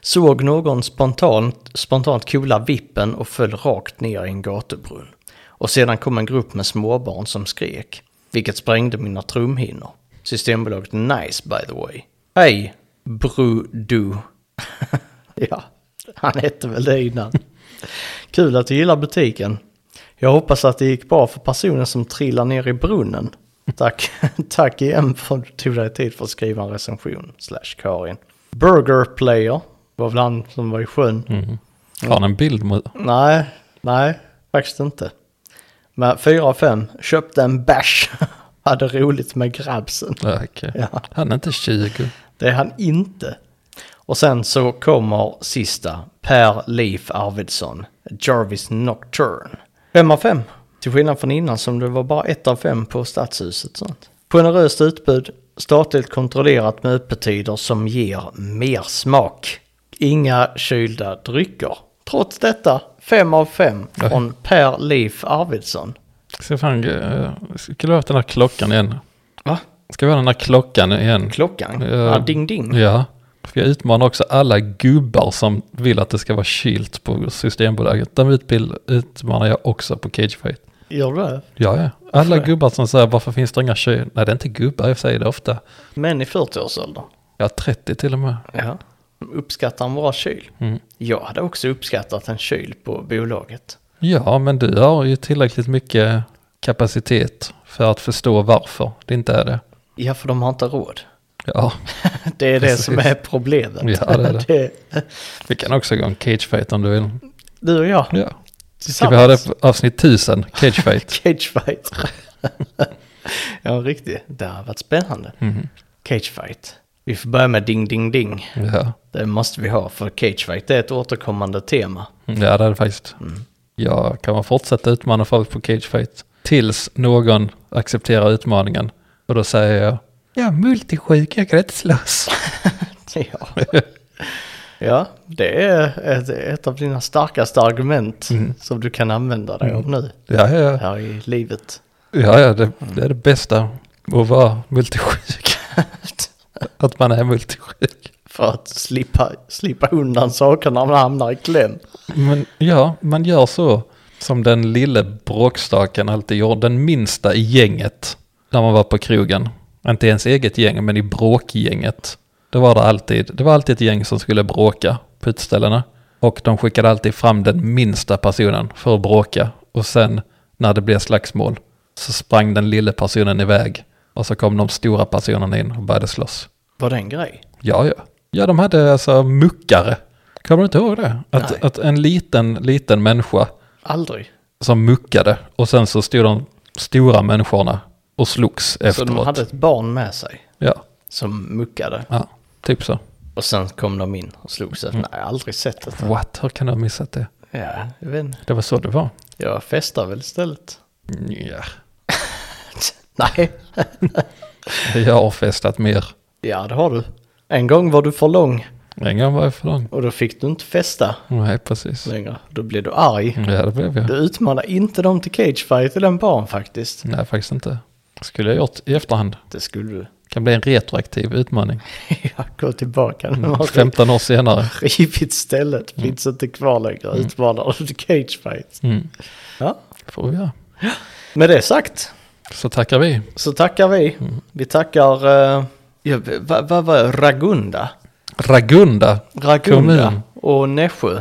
Såg någon spontant, spontant coola vippen och föll rakt ner i en gatubrunn. Och sedan kom en grupp med småbarn som skrek, vilket sprängde mina trumhinnor. Systembolaget Nice by the way. Hej, Brudu. ja, han hette väl det innan. Kul att du gillar butiken. Jag hoppas att det gick bra för personen som trillar ner i brunnen. Tack, tack igen för att du tog dig tid för att skriva en recension. Slash Karin. Burger Player var väl han som var i sjön. har han en bild mot... Nej, nej, faktiskt inte. Men 4 av 5, köpte en bash. Hade roligt med grabsen. Ja, okej. Ja. Han är inte 20. Det är han inte. Och sen så kommer sista, Per Leif Arvidsson, Jarvis Nocturne. 5 av 5, till skillnad från innan som det var bara 1 av 5 på Stadshuset. och Sånt. Generöst utbud, statligt kontrollerat med öppettider som ger mer smak. Inga kylda drycker. Trots detta, 5 av 5 från Per Leif Arvidsson. Ska fan, eh, ska vi ha den här klockan igen? Va? Ska vi ha den här klockan igen? Klockan? Eh, Ja, ding ding. Ja. För jag utmanar också alla gubbar som vill att det ska vara kylt på Systembolaget. De utbild, utmanar jag också på Cagefight. Gör du det? Ja, ja. Alla gubbar som säger varför finns det inga kyl? Nej, det är inte gubbar, jag säger det ofta. Män i 40-årsåldern. Ja, 30 till och med. Ja. Uppskattar en bra kyl. Mm. Jag hade också uppskattat en kyl på bolaget. Ja, men du har ju tillräckligt mycket kapacitet för att förstå varför det inte är det. Ja, för de har inte råd. Ja, Det är det Precis. som är problemet. Ja, det är det. Det- vi kan också gå en cagefight om du vill. du och jag Ja. Ska vi ha tillsammans. det på avsnitt 1000, cagefight? Cagefight. ja, riktigt. Det har varit spännande. Mhm. Cagefight. Vi får börja med ding, ding, ding. Ja. Det måste vi ha, för cagefight är ett återkommande tema. Mm, ja, det är det faktiskt. Jag kommer fortsätta utmana folk på cagefight tills någon accepterar utmaningen. Och då säger jag, jag är multisjuk, jag kan inte slåss. Ja. Ja, det är ett, ett av dina starkaste argument Mm. som du kan använda dig av nu Ja, ja, här i livet. ja, ja det, det är det bästa att vara multisjuk. Att man är multisjuk. För att slippa, slippa undan saker när man hamnar i kläm. Men ja, man gör så som den lille bråkstaken alltid gjorde, den minsta i gänget när man var på krogen. Inte ens eget gäng, men i bråkgänget. Det var det alltid. Det var alltid ett gäng som skulle bråka på utställena. Och de skickade alltid fram den minsta personen för att bråka. Och sen när det blev slagsmål så sprang den lille personen iväg. Och så kom de stora personerna in och började slåss. Var det en grej? Ja, ja. Ja, de hade alltså muckare. Kommer du inte ihåg det? Nej. Att, att en liten, liten människa Aldrig. som muckade och sen så stod de stora människorna och slogs Så efteråt. de hade ett barn med sig ja, som muckade. ja, typ så. Och sen kom de in och slog sig. Nej, jag har aldrig sett det. What? Hur kan du ha missat det? Ja, jag vet inte. Det var så det var. Jag festar väl istället. Ja, Nej. jag har festat mer. Ja, det har du. En gång var du för lång En gång var jag för lång. och då fick du inte festa Nej, precis. längre. Då blev du arg. Ja, det blev jag. Du utmanar inte dem till cagefight i den barn faktiskt. Nej, faktiskt inte. Skulle jag gjort i efterhand. Det skulle du. Kan bli en retroaktiv utmaning. Jag går tillbaka Mm, nu. har du 15 år senare. Rivit stället, finns inte kvar längre. Utmanar dem till cagefight. Mm. Ja. Får vi göra. Med det sagt Så tackar vi. så tackar vi. Mm. Vi tackar, eh, ja, v- vad vad var det? Ragunda? Ragunda. Ragunda Kommun. Mm. och Nässjö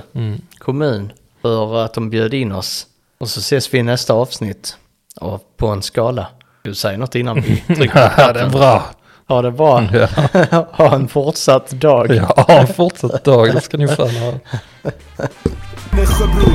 kommun för att de bjöd in oss. Och så ses vi i nästa avsnitt av På en skala. Du säger något innan vi trycker på Ja, det är knappen. bra. Ha det bra. ha en fortsatt dag. Ja, fortsätt dag. Det ska ni fan ha. Nässjöbror